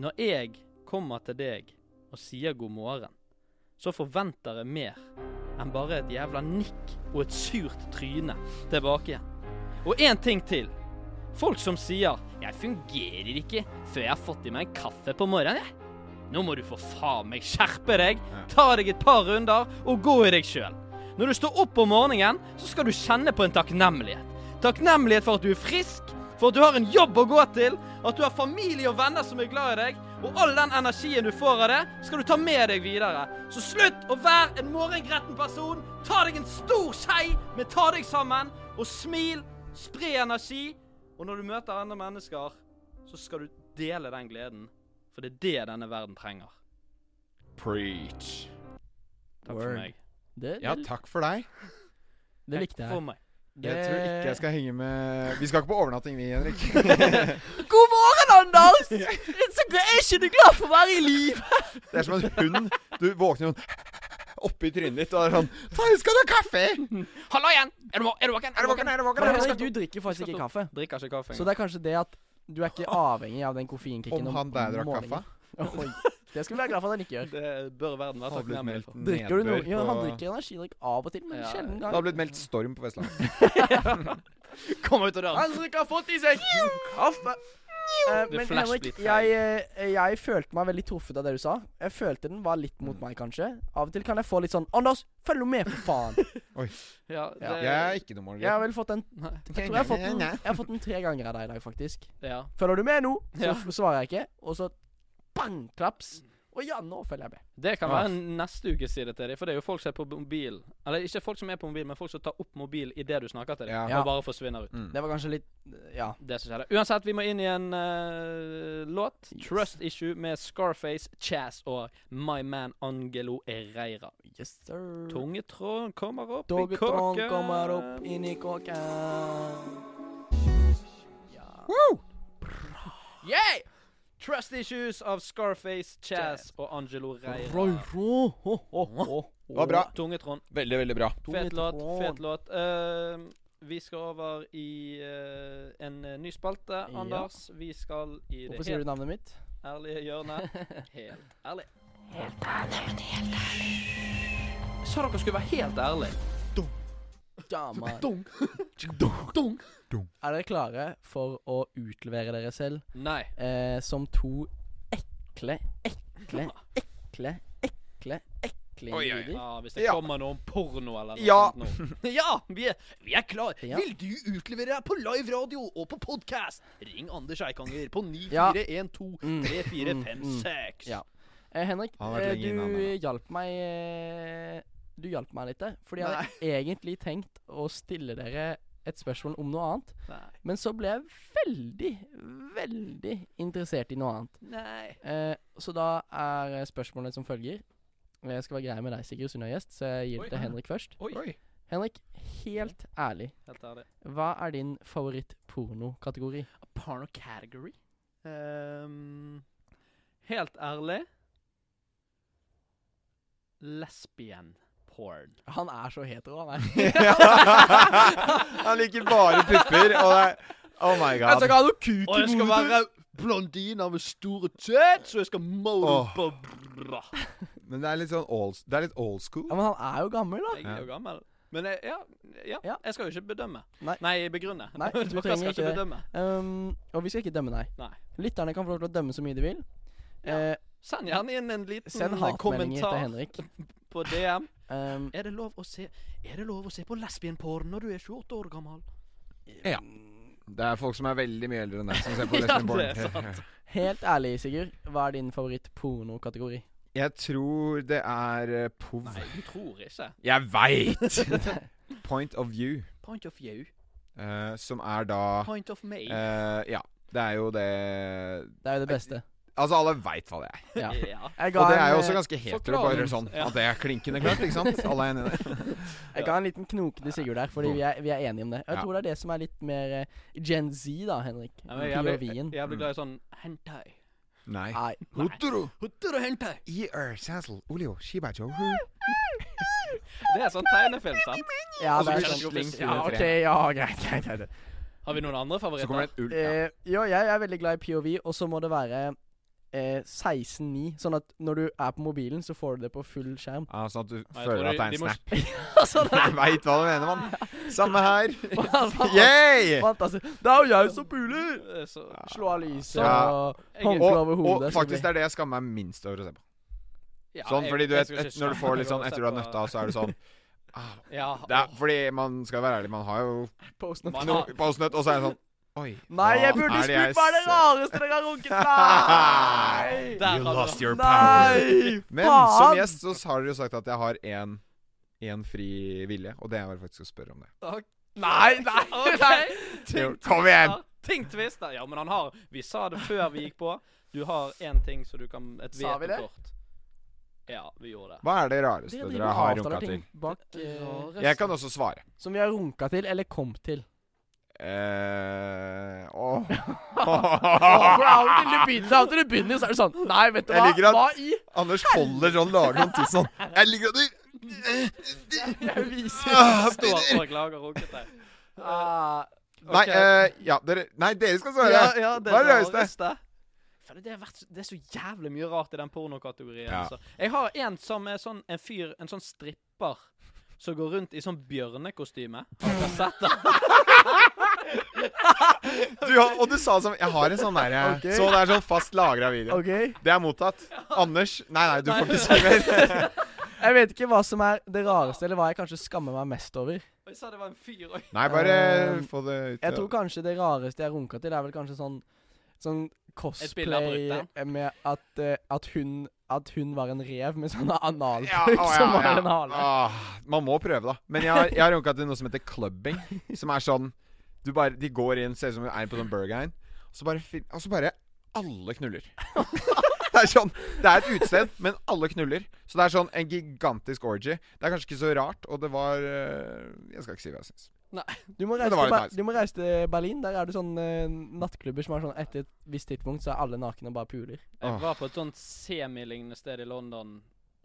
S2: Når jeg kommer til deg og sier god morgen, så forventer jeg mer enn bare et jævla nikk og et surt tryne tilbake igjen. Og én ting til. Folk som sier 'Jeg fungerer ikke før jeg har fått i meg en kaffe på morgenen', jeg. Nå må du for faen meg skjerpe deg, ta deg et par runder og gå i deg sjøl. Når du står opp om morgenen, så skal du kjenne på en takknemlighet. Takknemlighet for at du er frisk, for at du har en jobb å gå til, at du har familie og venner som er glad i deg, og all den energien du får av det, skal du ta med deg videre. Så slutt å være en morgengretten person. Ta deg en stor skei med ta deg sammen, og smil, spre energi. Og når du møter andre mennesker, så skal du dele den gleden. For det er det denne verden trenger.
S10: Preach.
S2: Takk for
S4: Word.
S2: meg.
S4: Det,
S9: Ja,
S4: det,
S9: takk for deg.
S4: det likte
S2: Takk
S4: jeg.
S2: for meg.
S9: Jeg tror ikke jeg skal henge med Vi skal ikke på overnatting, vi, Henrik.
S11: God morgen, Anders! Er ikke du glad for å være i liv?
S9: Det er som en hund. Du våkner jo oppi trynet ditt og er sånn Ta, skal du ha kaffe?
S2: Hallo igjen! Er du, vå- er du våken?
S9: Er du våken? Er du våken?
S4: Men
S9: Er du
S4: Henrik,
S9: våken?
S4: du drikker faktisk ikke kaffe.
S2: Drikker ikke kaffe.
S4: Så det er kanskje det at du er ikke avhengig av den koffeinkicken
S9: Om han der drakk kaffe?
S4: Oi, det skal vi være glad for at han ikke gjør.
S2: det bør verden være
S9: Har blitt
S2: takknemlig
S9: meldt
S2: for.
S4: Drikker du noe?
S9: nedbør
S4: Ja, han
S9: på-
S4: drikker energidrikk av og til, men
S2: Ja,
S4: sjelden
S9: Det har
S4: gang.
S9: blitt meldt storm på Vestlandet.
S2: Kom ut av døren.
S4: Henrik har fått i seg kaffe! Eh,
S2: The
S4: men
S2: flash
S4: Henrik,
S2: bit
S4: jeg, eh, jeg følte meg veldig truffet av det du sa. Jeg følte den var litt
S9: Mm.
S4: mot meg, kanskje. Av og til kan jeg få litt sånn Anders, følg nå med, for faen!
S2: Ja, det,
S9: Jeg er ikke noe
S4: Jeg har
S9: morgen.
S4: vel fått den
S2: Nei.
S4: Jeg tror jeg har fått den, jeg har fått den tre ganger av deg i dag, faktisk.
S2: ja.
S4: Følger du med nå? Så
S2: Ja.
S4: f- svarer jeg ikke. Og så bang, klaps. Og ja, nå følger jeg med.
S2: Det kan
S9: Ja.
S2: være neste uke side til dem, for det er jo folk som er på mobil. Eller ikke folk som er på mobil, men folk som tar opp mobil idet du snakker til dem,
S9: Ja.
S4: Ja.
S2: og bare forsvinner
S9: Mm.
S2: ut.
S4: Det var kanskje litt Ja.
S2: Det som skjedde. Uansett, vi må inn i en eh, låt.
S4: Yes.
S2: Trust Issue med Scarface, Chaz og My Man Angelo Ereira.
S4: Yes, sir.
S2: Tungetråden kommer opp i
S4: Dogetron
S2: kåken.
S4: kommer opp inn i kåken. Ja.
S2: Yeah! Trust Issues av Scarface, Chaz og Angelo Reira.
S4: Roro, ho, ho, ho.
S9: Det var bra.
S2: Tungetråden.
S9: Veldig, veldig bra.
S2: Fet låt,
S4: Tungetråden.
S2: fet låt. Eh, vi skal over i eh, en eh, ny spalte,
S4: Ja.
S2: Anders. Vi skal i det
S4: Hvorfor sier du
S2: helt
S4: navnet mitt?
S2: ærlige hjørnet. Helt ærlig. Jeg sa dere skulle være helt ærlig.
S4: Ja, man. Er dere klare for å utlevere dere selv
S2: Nei.
S4: eh, som to ekle, ekle, ekle, ekle, ekle
S10: Oi, oi, oi.
S4: individer?
S2: Ja, hvis det
S9: Ja.
S2: kommer noe om porno eller noe
S9: Ja.
S2: sånt.
S11: Ja, vi er, vi er klar.
S4: Ja.
S11: Vil du utlevere deg på live radio og på podkast? Ring Anders Eikanger på
S4: Ja.
S11: 9412
S4: Mm.
S11: 3456.
S4: Ja. Eh, Henrik,
S9: Han har vært
S4: eh,
S9: lenge inne, han,
S4: du
S9: da.
S4: hjalp meg eh, Du hjalp meg litt der. Fordi jeg hadde egentlig tenkt å stille dere et spørsmål om noe annet.
S2: Nei.
S4: Men så ble jeg veldig, veldig interessert i noe annet.
S2: Nei.
S4: Eh, så da er eh, spørsmålet som følger Og Jeg skal være grei med deg, Sigurd, siden du er gjest, så jeg gir
S2: Oi.
S4: det til Henrik først.
S2: Oi.
S4: Henrik, helt ærlig,
S2: Helt ærlig.
S4: hva er din favoritt-pornokategori?
S2: Porno category? Ehm, helt ærlig Lesbian porn.
S4: Han er så hetero, han er.
S9: Han liker bare pupper, og det er Oh my
S11: Jeg skal
S9: god.
S11: ikke ha noe kuk
S2: Og jeg
S11: i
S2: skal
S11: hodet. Blondiner med store tett, så jeg skal måle
S9: Åh.
S11: på bra.
S9: Men det er litt sånn old, det er litt old school.
S4: Ja, men han er jo gammel, da.
S2: Jeg er jo gammel. Men jeg, ja, ja,
S4: Ja.
S2: jeg skal jo ikke bedømme.
S4: Nei.
S2: begrunne.
S4: Nei, du
S2: Dere skal
S4: trenger
S2: ikke
S4: ikke det.
S2: bedømme.
S4: Um, og vi skal ikke dømme deg.
S2: Nei.
S4: Lytterne kan få lov til å dømme så mye de vil. Eh,
S2: Send gjerne inn en liten
S4: send hatmeldinger til
S2: kommentar
S4: Henrik.
S2: på DM.
S4: Um,
S11: Er det lov å se Er det lov å se på lesbienporn når du er 28 år gammel?
S9: Det er folk som er veldig mye eldre enn deg, som ser på
S2: Ja,
S9: Lesbian
S2: det er
S9: Born.
S4: Helt ærlig, Sigurd. Hva er din favoritt-pornokategori?
S9: Jeg tror det er eh, pov.
S2: Nei, du tror ikke.
S9: Jeg veit! Point of view,
S2: Point of you.
S9: eh, som er da
S2: Point of me.
S9: eh, Ja, det er jo det
S4: Det er jo det beste.
S9: Altså, alle veit hva det er.
S4: Ja.
S2: Ja.
S4: Jeg
S9: Og det er
S4: en,
S9: jo
S4: eh,
S9: også ganske hetero, bare
S2: forklaring.
S9: sånn
S2: Ja.
S9: at det er klinkende klart, ikke sant? Alle er enig i det.
S4: eh, Jeg ga en liten knoke til Sigurd der, fordi vi er, vi er enige om det. Jeg
S9: Ja.
S4: tror det er det som er litt mer eh, Gen Z, da, Henrik.
S2: Ja, men jeg blir
S4: POV-en.
S2: jeg blir glad i sånn hentai.
S9: Nei.
S4: Ah, Nei.
S12: Hotoro.
S2: Hotter og hentai.
S12: ER, Sassel, Olio, Shiba, Joe.
S2: Det er sånn tegnefilm, sant?
S4: Ja,
S9: Og så
S4: det
S9: blir
S4: er
S9: det
S4: sånn.
S9: slengt
S4: Ja,
S9: under
S4: ok,
S9: treet.
S4: ja, greit, greit, greit.
S2: Har vi noen andre
S9: Så kommer
S2: favoritter?
S9: det en ulv. Ja.
S4: Eh, jo, jeg er veldig glad i POV, og så må det være eh, 16.9. Sånn at når du er på mobilen, så får du det på full skjerm.
S9: Ja, sånn at du
S2: Nei, jeg
S9: føler
S2: tror
S9: at det er
S2: de-
S9: en
S2: de må-
S9: snap.
S4: sånn
S9: Jeg veit hva du mener, mann. Samme her.
S4: Fantastisk.
S9: Yeah!
S4: Det er jo jeg som puler!
S2: Eh, Så,
S4: Slå av lyset
S9: Ja.
S4: og
S2: jeg,
S9: Og,
S4: håndkle over hodet.
S9: og
S4: så
S9: faktisk
S4: blir-
S9: det er det jeg skammer meg minst over å se på.
S2: ja,
S9: Sånn,
S2: jeg-
S9: fordi du
S2: jeg
S9: vet,
S2: skulle ikke
S9: et- når du
S2: skjønne
S9: får litt sånn
S2: å se
S9: etter du har
S2: på-
S9: nøtta, så er du sånn ah,
S2: Ja,
S9: det er,
S2: åh,
S9: Fordi man skal være ærlig, man har jo
S4: Posten
S2: Man
S9: no,
S2: har-
S9: pausnøtt, og så er det sånn Oi.
S4: Nei,
S9: hva
S4: jeg burde
S9: er det jeg
S4: spurt hva er det
S9: ser?
S4: rareste dere har runket! Nei!
S2: der har du det.
S12: your
S4: Nei!
S9: Men som
S4: Faen!
S9: gjest så har dere jo sagt at jeg har én én fri vilje, og det er vel faktisk å spørre om det.
S2: Nei, nei, nei.
S9: Jo, Kom igjen!
S2: Ting twister. Ja, men han har Vi sa det før vi gikk på. Du har én ting så du kan Et
S4: Sa vi det?
S2: vetokort. Ja, vi gjorde det.
S9: Hva er det rareste
S4: Dere
S9: dere
S4: driver
S9: har
S4: og avtaler
S9: runka
S4: ting
S9: til?
S4: bak eh,
S9: Jeg kan også svare.
S4: Som vi har runka til, eller kom til.
S9: Eh, åh.
S4: For det er jo til du begynner, av og til du begynner, så er det sånn Nei, vet du
S9: Jeg
S4: hva?
S9: liker at-
S4: Hva i?
S9: Anders holder sånn, lager noen tiss sånn. Jeg liker at du
S4: Jeg viser
S9: Ah,
S2: Står
S9: Peter.
S2: og klager runkete.
S4: Ah,
S9: Nei, eh, ja, dere Nei, dere skal svare. Hva er det rareste?
S2: Fordi det, har vært, så- det er så jævlig mye rart i den pornokategorien.
S9: Ja.
S2: Altså. Jeg har en som er sånn en fyr, en sånn stripper, som går rundt i sånn bjørnekostyme. Har dere sett det?
S9: Du, har- og du sa sånn Jeg har en sånn derre
S4: Ok.
S9: Så det er sånn fast lagra video.
S4: OK.
S9: Det er mottatt. Anders Nei, nei, du får ikke servere.
S4: Jeg vet ikke hva som er det rareste, eller hva jeg kanskje skammer meg mest over.
S2: Og jeg sa det var en fyr òg.
S9: Nei, bare få det ut.
S4: Eh, Jeg tror kanskje det rareste jeg runka til, er vel kanskje sånn Sånn
S2: bilde av
S4: cosplay
S2: brutter'n.
S4: med at, eh, at, hun, at hun var en rev med sånne analpupp
S9: ja, å, ja,
S4: som var
S9: ja.
S4: en hale.
S9: Ah, man må prøve, da. Men jeg har, jeg har runka til noe som heter clubbing. Som er sånn du bare, De går inn, ser ut som de er på sånn burgerheim, og så bare, fin- og så bare alle knuller. Det er sånn Det er et utested, men alle knuller. Så det er sånn en gigantisk orgy. Det er kanskje ikke så rart, og det var eh, Jeg skal ikke si hva jeg syns.
S4: Du må,
S9: det
S4: reise
S9: var
S4: til
S9: litt
S4: Ba-
S9: nice.
S4: du må reise til Berlin. Der er det sånne eh, nattklubber som er sånn etter et visst tidspunkt, så er alle nakne og bare puler.
S2: Jeg
S9: Åh.
S2: var på et sånt semilignende sted i London.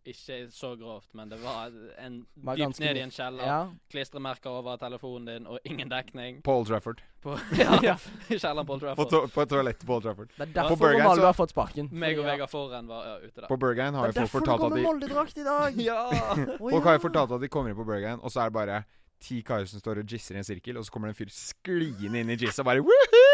S2: Ikke så grovt, men det var en
S4: Var
S2: dypt
S4: ganske
S2: ned i
S4: grovt.
S2: en kjeller.
S4: Ja.
S2: Klistremerker over telefonen din, og ingen dekning.
S9: Paul Trafford.
S2: På, ja, i kjelleren på Old
S9: På,
S2: Trafford.
S9: to, på et toalett på Old Trafford.
S4: Det er
S2: På
S4: derfor
S9: Bergen,
S4: Romaldo
S9: så-
S4: har fått sparken.
S2: Meg og
S4: Fordi, ja.
S2: Vegard Forhen var ja, ute der.
S9: På burgerheim har jo folk fortalt at de
S13: Molde-drakt i dag.
S9: Folk har jo fortalt at de kommer inn på Burger Inn, og så er det bare ti karer som står og jizzer i en sirkel, og så kommer det en fyr skliende inn i jizz og bare Woohoo!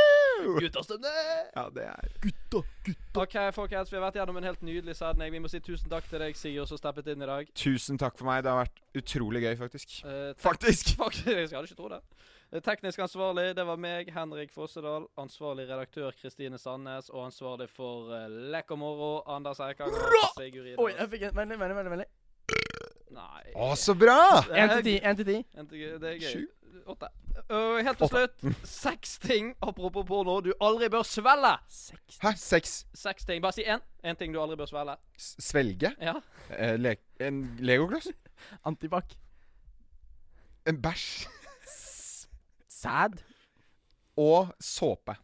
S2: Gutterstemning!
S9: Ja, det er
S2: OK, folkens, vi har vært gjennom en helt nydelig sending. Vi må si tusen takk til deg, Sigurd, som steppet inn i dag.
S9: Tusen takk for meg. Det har vært utrolig gøy, faktisk.
S2: Eh, tek-
S9: Faktisk!
S2: Faktisk, jeg hadde ikke tro det. Eh, Teknisk ansvarlig, det var meg, Henrik Fossedal. Ansvarlig redaktør, Kristine Sandnes. Og ansvarlig for uh, Lekk og moro, Anders Eikanger. og Sigurd Ida.
S4: Oi, jeg fikk en Vennlig, vennlig, vennlig.
S2: Nei.
S9: Å, så bra!
S2: Det er
S4: Én til ti. Én til ti.
S2: En til- Det er gøy.
S9: Sju.
S2: Åtte. Øh, helt til slutt, seks ting apropos porno du aldri bør svelge.
S9: Hæ? Sex?
S2: Seks ting. Bare si én. Én ting du aldri bør svelge.
S9: S svelge?
S2: Ja.
S9: Eh, le en legokloss?
S4: Antibac.
S9: En bæsj?
S4: Sæd.
S9: Og såpe.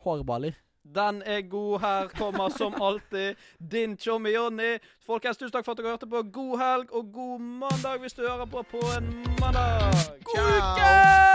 S4: Hårballer.
S2: Den er god. Her kommer som alltid din Tjommi Jonny. Folkens, tusen takk for at dere hørte på. God helg og god mandag hvis du hører på på en mandag.
S9: God uke!